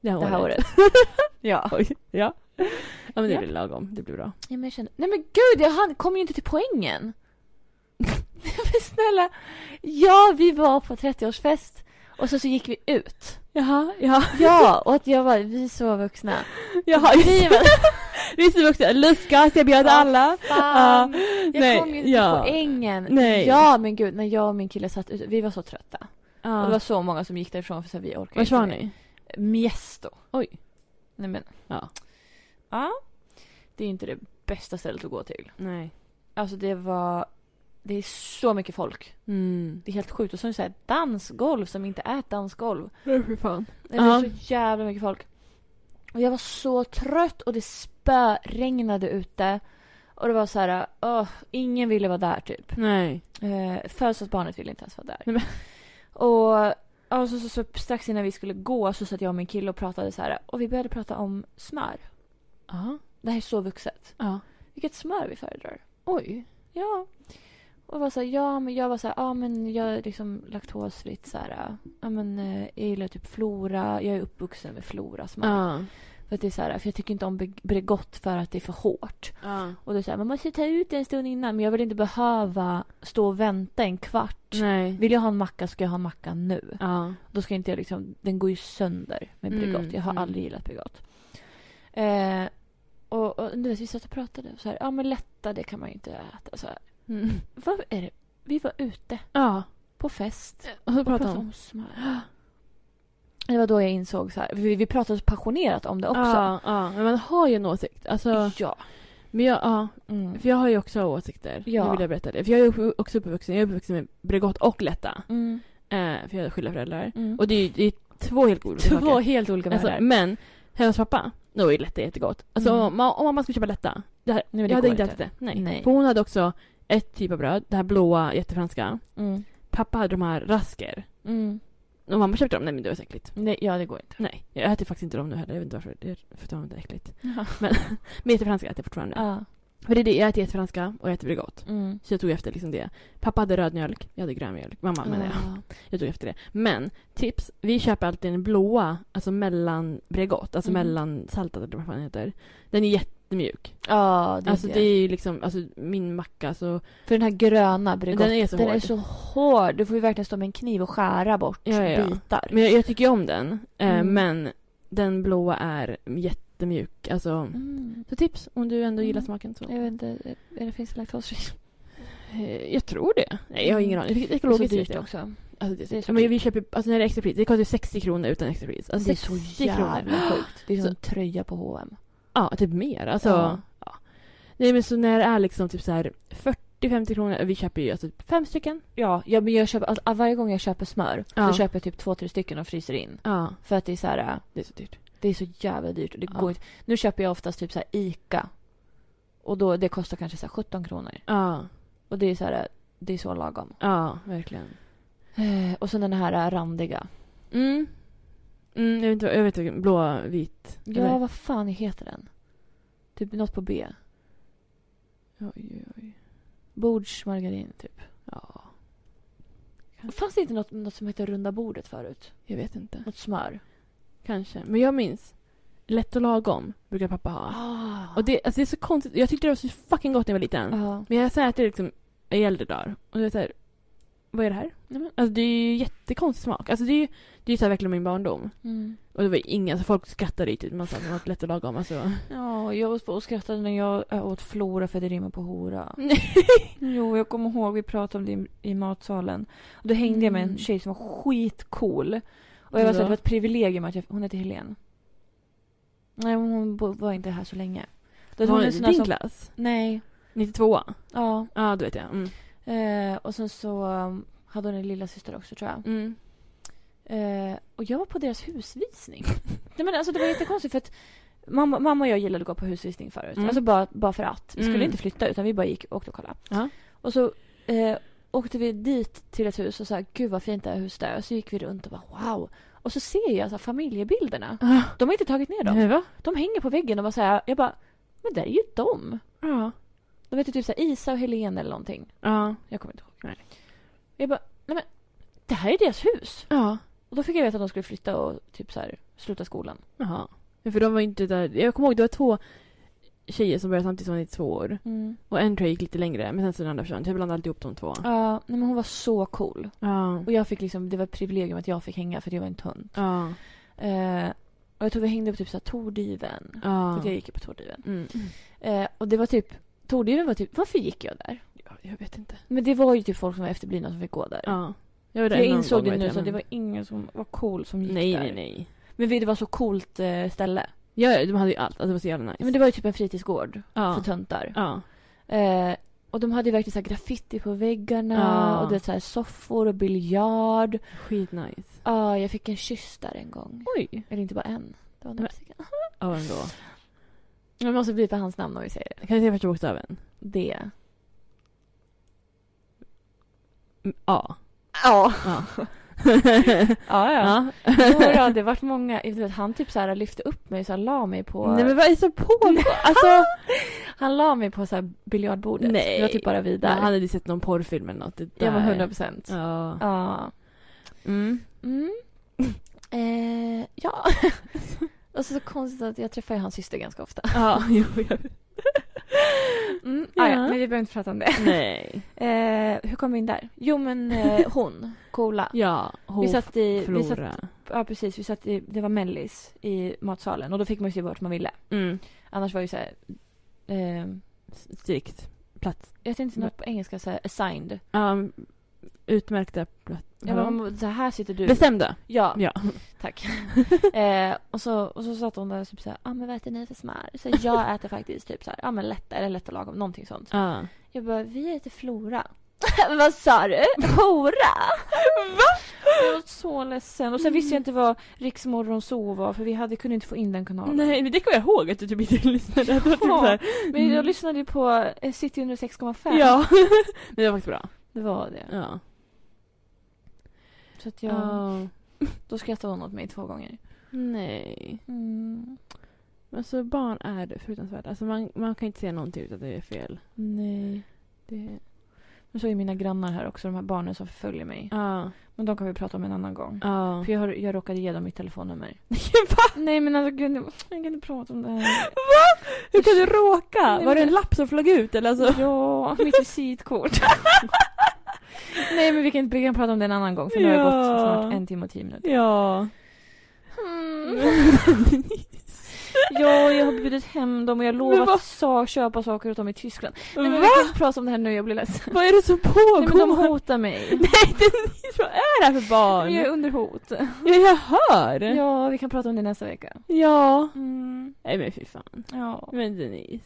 Det här,
Det här
året.
året. ja.
Oj, ja. Ja, men det
Ja.
blir lagom. Det blir bra.
Ja, men jag känner, nej men gud, jag han kom ju inte till poängen. Nej, men snälla. Ja, vi var på 30-årsfest och så, så gick vi ut.
Jaha, ja.
Ja, och att jag var, vi är så vuxna.
Jaha,
Vi var,
vi som också luskas, jag bjöd
Ja.
alla.
fan, jag
nej,
kom ju inte
ja.
till poängen.
Nej.
Ja, men gud, när jag och min kille satt ute, vi var så trötta. Och det var
Ja.
så många som gick därifrån för så här, vi orkar
Vart var
inte.
ni?
Miesto.
Oj.
Nej men.
Ja.
Ja. Det är inte det bästa stället att gå till.
Nej.
Alltså det var, det är så mycket folk.
Mm.
Det är helt sjukt. Och så är det så här dansgolv som inte är ett dansgolv.
Fy fan.
Det är
Ja.
så jävla mycket folk. Och jag var så trött och det spöregnade ute. Och det var så här, öh, ingen ville vara där typ.
Nej.
Eh, födelsedagsbarnet ville inte ens vara där.
Nej, men-
Och alltså, så, så, strax innan vi skulle gå så satt jag och min kille och pratade så här. Och vi började prata om smör.
Ja.
Det här är så vuxet.
Ja.
Vilket smör vi föredrar.
Oj.
Ja. Och var så här, ja, men jag var så här, ja men jag är liksom laktosfritt så här. Ja men eh, jag gillar typ flora, jag är uppvuxen med flora smör.
Ja.
För att det är så här, för jag tycker inte om Bre- Bregott för att det är för hårt.
ja.
Och då säger man måste ta ut det en stund innan men jag vill inte behöva stå och vänta en kvart.
Nej.
Vill jag ha en macka ska jag ha en macka nu.
Ja.
Då ska inte jag liksom, den går ju sönder med
Mm,
Bregott. jag har
mm.
aldrig gillat Bregott. Eh, och, och du vet, vi satt och pratade så här, ja men lätta det kan man ju inte äta så här.
Mm.
Vad är det? Vi var ute
Ja.
på fest
Och så
och pratade
pratar
om
hon.
smör. Det var då jag insåg så här, vi, vi pratade så passionerat om det också.
Ja, ja. Men man har ju en åsikt. Alltså,
Ja.
men jag, ja.
Mm.
För jag har ju också åsikter.
Ja.
Nu vill jag berätta det. För jag är ju också uppvuxen, jag är uppvuxen med Bregott och Lätta.
Mm.
Eh, för jag har skilda föräldrar.
Mm.
Och det är ju det är två helt olika
Två
saker.
helt olika
Alltså,
världar.
men hennes pappa, då är Lätta jättegott. Alltså
Mm.
om, ma- om mamma skulle köpa Lätta, det här,
Nej, men det
jag hade
går
inte
inte.
ätit det. Nej.
Nej.
För hon hade också ett typ av bröd, det här blåa jättefranska.
Mm.
Pappa hade de här rasker.
Mm.
Och mamma köpte dem, nej men det var så äckligt.
Nej, ja, det går inte.
Nej, jag äter faktiskt inte dem nu heller. Jag vet inte varför. Det är för att de är äckligt.
Ja.
Men, men jättefranska äter jag fortfarande.
Ja.
För det är det, jag äter jättefranska och jag äter Bregott.
Mm.
Så jag tog efter liksom det. Pappa hade röd mjölk, jag hade grön mjölk. Mamma menar jag.
Ja.
Jag tog efter det. Men tips, vi köper alltid den blåa, alltså mellan Bregott, alltså
Mm.
mellan saltad eller vad fan den heter. Den är jättemjuk.
Ja, det är
alltså
det.
det är ju liksom, alltså min macka så,
För den här gröna Bregott,
den är så
den
hård.
är så hård. Du får ju verkligen stå med en kniv och skära bort
Ja, ja, ja.
bitar.
Men jag, jag tycker ju om den. Eh,
Mm.
Men den blåa är jättemjuk. Alltså,
Mm.
så tips om du ändå gillar
Mm.
smaken så.
Jag vet inte, är det, finns det laktosfritt?
Eh, Jag tror det. Nej, jag har ingen aning. Det är ekologiskt vet jag.
också.
Alltså, det,
Det är så
ja, men
dyrt.
vi köper, alltså när det är extra pris, det kostar 60 kronor utan extra pris. Alltså,
det är så
60
jävla
kronor.
sjukt. Det är som
Så-
en tröja på H&M.
Ja, typ mer. Alltså,
Ja.
ja. Nej, men så när det är liksom typ så här 40-50 kronor, vi köper ju alltså fem stycken.
Ja, ja men jag köper, alltså, varje gång jag köper smör
Ja.
så köper jag typ två, tre stycken och fryser in.
Ja,
För att det är så här,
det är så dyrt.
det är så jävla dyrt och det
Ja.
går inte. Nu köper jag oftast typ så här ICA. Och då, det kostar kanske så här 17 kronor.
Ja,
Och det är så här, det är så lagom.
ja, verkligen.
Eh, Och sen den här eh, randiga.
Mm. Mm, jag vet inte, vad- jag vet inte, blå, vit.
Ja,
Eller-
vad fan heter den? Typ något på B.
Oj, oj, oj.
Bordsmargarin typ.
Ja,
Fanns det inte något, något som hette runda bordet förut?
jag vet inte.
Något smör?
Kanske. Men jag minns lätt och lagom brukar pappa ha.
Ah.
Och det, alltså, det är så konstigt. Jag tyckte det var så fucking gott när jag var liten.
Ja.
Men jag har ätit det liksom i äldre dagar. Och det är så här, vad är det här? Nej, men, alltså det är ju jättekonstig smak. Alltså det är ju det är ju så här verkligen min barndom.
Mm.
Och det var ju inga, alltså folk skrattade riktigt. Man sa att det var lätt att laga om. Alltså.
Ja, jag var och skrattade när jag äh, åt flora för det rimmar på hora. jo, jag kommer ihåg vi pratade om det i, i matsalen. Och då hängde jag med en
Mm.
tjej som var skitcool. Och jag var så här,
Ja.
det var ett privilegium att jag, hon hette Helen. Nej, hon bo- var inte här så länge. Då hade
Var
hon
det
en sån här
din
som,
klass?
Nej.
92?
Ja.
Ja, då vet jag. Mm.
Eh, och sen så um, hade hon en lilla syster också tror jag.
Mm.
Eh, och jag var på deras husvisning. Nej, men alltså, det var jättekonstigt för att mamma, mamma och jag gillade att gå på husvisning förut.
Mm.
Alltså bara, bara för att. Vi skulle
Mm.
inte flytta utan vi bara gick och åkte och kollade.
Ja.
Och så eh, åkte vi dit till ett hus och sa gud vad fint det här huset är. Och så gick vi runt och bara wow. Och så ser jag så här, familjebilderna.
Ah,
De har inte tagit ner dem.
nej, va?
De hänger på väggen och bara så här, jag bara men där är ju de.
Ja.
De heter typ så här, Isa och Helene eller någonting.
Ja.
Jag kommer inte ihåg.
Nej.
Jag bara, nej men det här är deras hus.
Ja.
Och då fick jag veta att de skulle flytta och typ så här, sluta skolan.
Jaha. Ja, För de var inte där. Jag kommer ihåg det var två tjejer som började samtidigt som var 92 år. Och en tror jag gick lite längre men sen så den andra försvann. Så Jag blandade alltid ihop de två.
Ja, nej men hon var så cool.
Ja.
Och jag fick liksom, det var ett privilegium att jag fick hänga för att jag var en tunt.
Ja.
Eh, och jag tror vi hängde på typ så här Tordyven. För
Ja.
att jag gick ju på Tordyven.
Mm.
Eh, och det var typ, Tordyven var typ, varför gick jag där?
ja. Jag vet inte.
Men det var ju typ folk som var efterblivna som fick gå där.
Ja. Jag,
typ. För
var där
jag
någon
insåg
gång,
det
vet
nu,
jag,
så det
men-
var ingen som var cool som gick
Nej,
där.
nej, nej.
Men vi- det var så coolt eh, ställe.
Ja, de hade ju allt. Alltså, det var så jävla nice.
Ja, Men det var ju typ en fritidsgård för
ja.
töntar.
Ja.
Eh, och de hade ju verkligen så här graffiti på väggarna
Ja.
och det är så här soffor och biljard.
Skitnice.
Ja, jag fick en kyss där en gång.
Oj.
Eller inte bara en. Det var några
Men-
stycken.
Ja, ändå.
Jag måste bli på hans namn om vi säger det.
Kan du säga första bokstaven?
Det.
Mm, A.
Ja.
Ja.
Ja, ja.
ja.
Några, det varit många. Du vet, han typ så här lyfte upp mig så här la mig på...
Nej men vad är det som pågår?
alltså, han la mig på så här biljardbordet.
Nej.
Det var typ bara vi där.
Han hade ju sett någon porrfilm eller något. Det
jag var
där.
100 procent. Ja.
Ja. Mm.
Mm. Eh, ja. Och så, så konstigt att jag träffar ju hans syster ganska ofta.
Ja, jo, jag vet.
Mm,
Ja.
ah, ja, men vi behöver inte prata om det.
Nej.
Eh, hur kom vi in där? Jo, men eh, hon, coola.
Ja, hon
Vi satt i, vi satt,
Flora.
ja precis, vi satt i, det var mellis i matsalen och då fick man ju se vart man ville.
Mm.
Annars var det ju såhär, eh,
Strikt. Plats.
jag tänkte något på engelska såhär, assigned.
Ja, um, utmärkta plats.
Ja, men man, så här sitter du.
Bestämda.
Ja,
Ja.
tack. eh, och, så, och så satt hon där och typ såhär, ja ah, men vad äter ni för smör? Så här, jag äter faktiskt typ såhär, ja ah, men lätt eller lätt och lagom, någonting sånt.
Ja.
Jag bara, vi heter Flora. vad sa du? Hora? Va? Jag var så ledsen. Och sen visste
Mm.
jag inte vad Riksmorgonzoo var för vi hade, kunde inte få in den kanalen.
Nej, men det kommer jag ihåg att du typ inte lyssnade. Det var typ
Ja,
så här,
Men jag lyssnade ju på eh, City 106,5.
Ja. men det var faktiskt bra.
Det var det.
Ja.
Så att jag,
Ja.
Då skrattade hon åt mig två gånger.
Nej. Mm. Alltså barn är fruktansvärt. Alltså man, man kan inte säga någonting utan att det är fel.
Nej.
Det...
Men så är mina grannar här också, de här barnen som förföljer mig.
Ja.
Men de kan vi prata om en annan gång.
Ja.
För jag, har, jag råkade ge dem mitt telefonnummer. Nej men alltså gud, jag kan inte prata om det här.
Hur kan du råka?
Nej,
var det
men-
en lapp som flög ut eller alltså?
Ja, mitt visitkort. Nej men vi kan, inte- vi kan prata om det en annan gång för nu har det
Ja.
gått snart en timme och tio minuter.
Ja.
Mm. ja, jag har bjudit hem dem och jag
Men
lovat
vad-
sa, köpa saker åt dem i Tyskland. Nej, men
Va?
vi kan inte prata om det här nu, jag blir ledsen.
Vad är det som
Nej, men
pågår?
de hotar mig.
Nej, det, vad är det här för barn?
Men jag är under hot.
Ja, jag hör!
Ja, vi kan prata om det nästa vecka.
Ja.
Mm,
Nej men fy fan.
ja,
Men Denise.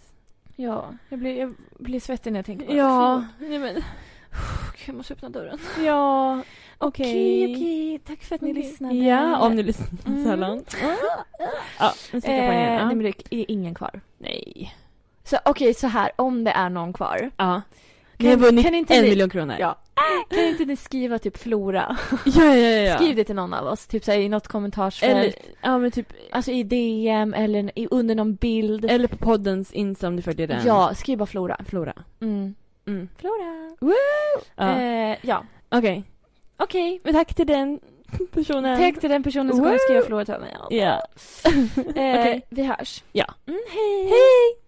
ja. Jag blir, jag blir svettig när jag tänker på det.
Ja. Nej men.
Förlåt. Jag måste öppna dörren.
Ja.
Okej,
Okej.
okej. Tack för att ni lyssnade.
Ja, om ni lyssnar
Mm.
så här långt. Ja, nu
Eh,
sätter jag på igen. Ja.
nej, men det är ingen kvar.
Nej.
Så okej, så här, om det är någon kvar.
Ja.
Kan-
Ni har vunnit
kan inte
en
ni-
miljon kronor.
Ja. Kan inte ni skriva typ Flora?
ja, ja, ja, ja.
Skriv det till någon av oss, typ såhär i något kommentarsfält.
Eller, ja, men typ,
Alltså i DM eller n- i- under någon bild.
eller på poddens Insta om du följer den.
Ja, skriv bara Flora.
Flora.
Mm.
Mm.
Flora.
Woo! Ja.
Eh, ja.
Okej.
Okej.
Men tack till den. personen.
Tack till den personen som kommer skriva förlorat över mig.
Ja.
Eh, Vi hörs.
Ja.
Mm, hej!
Hej!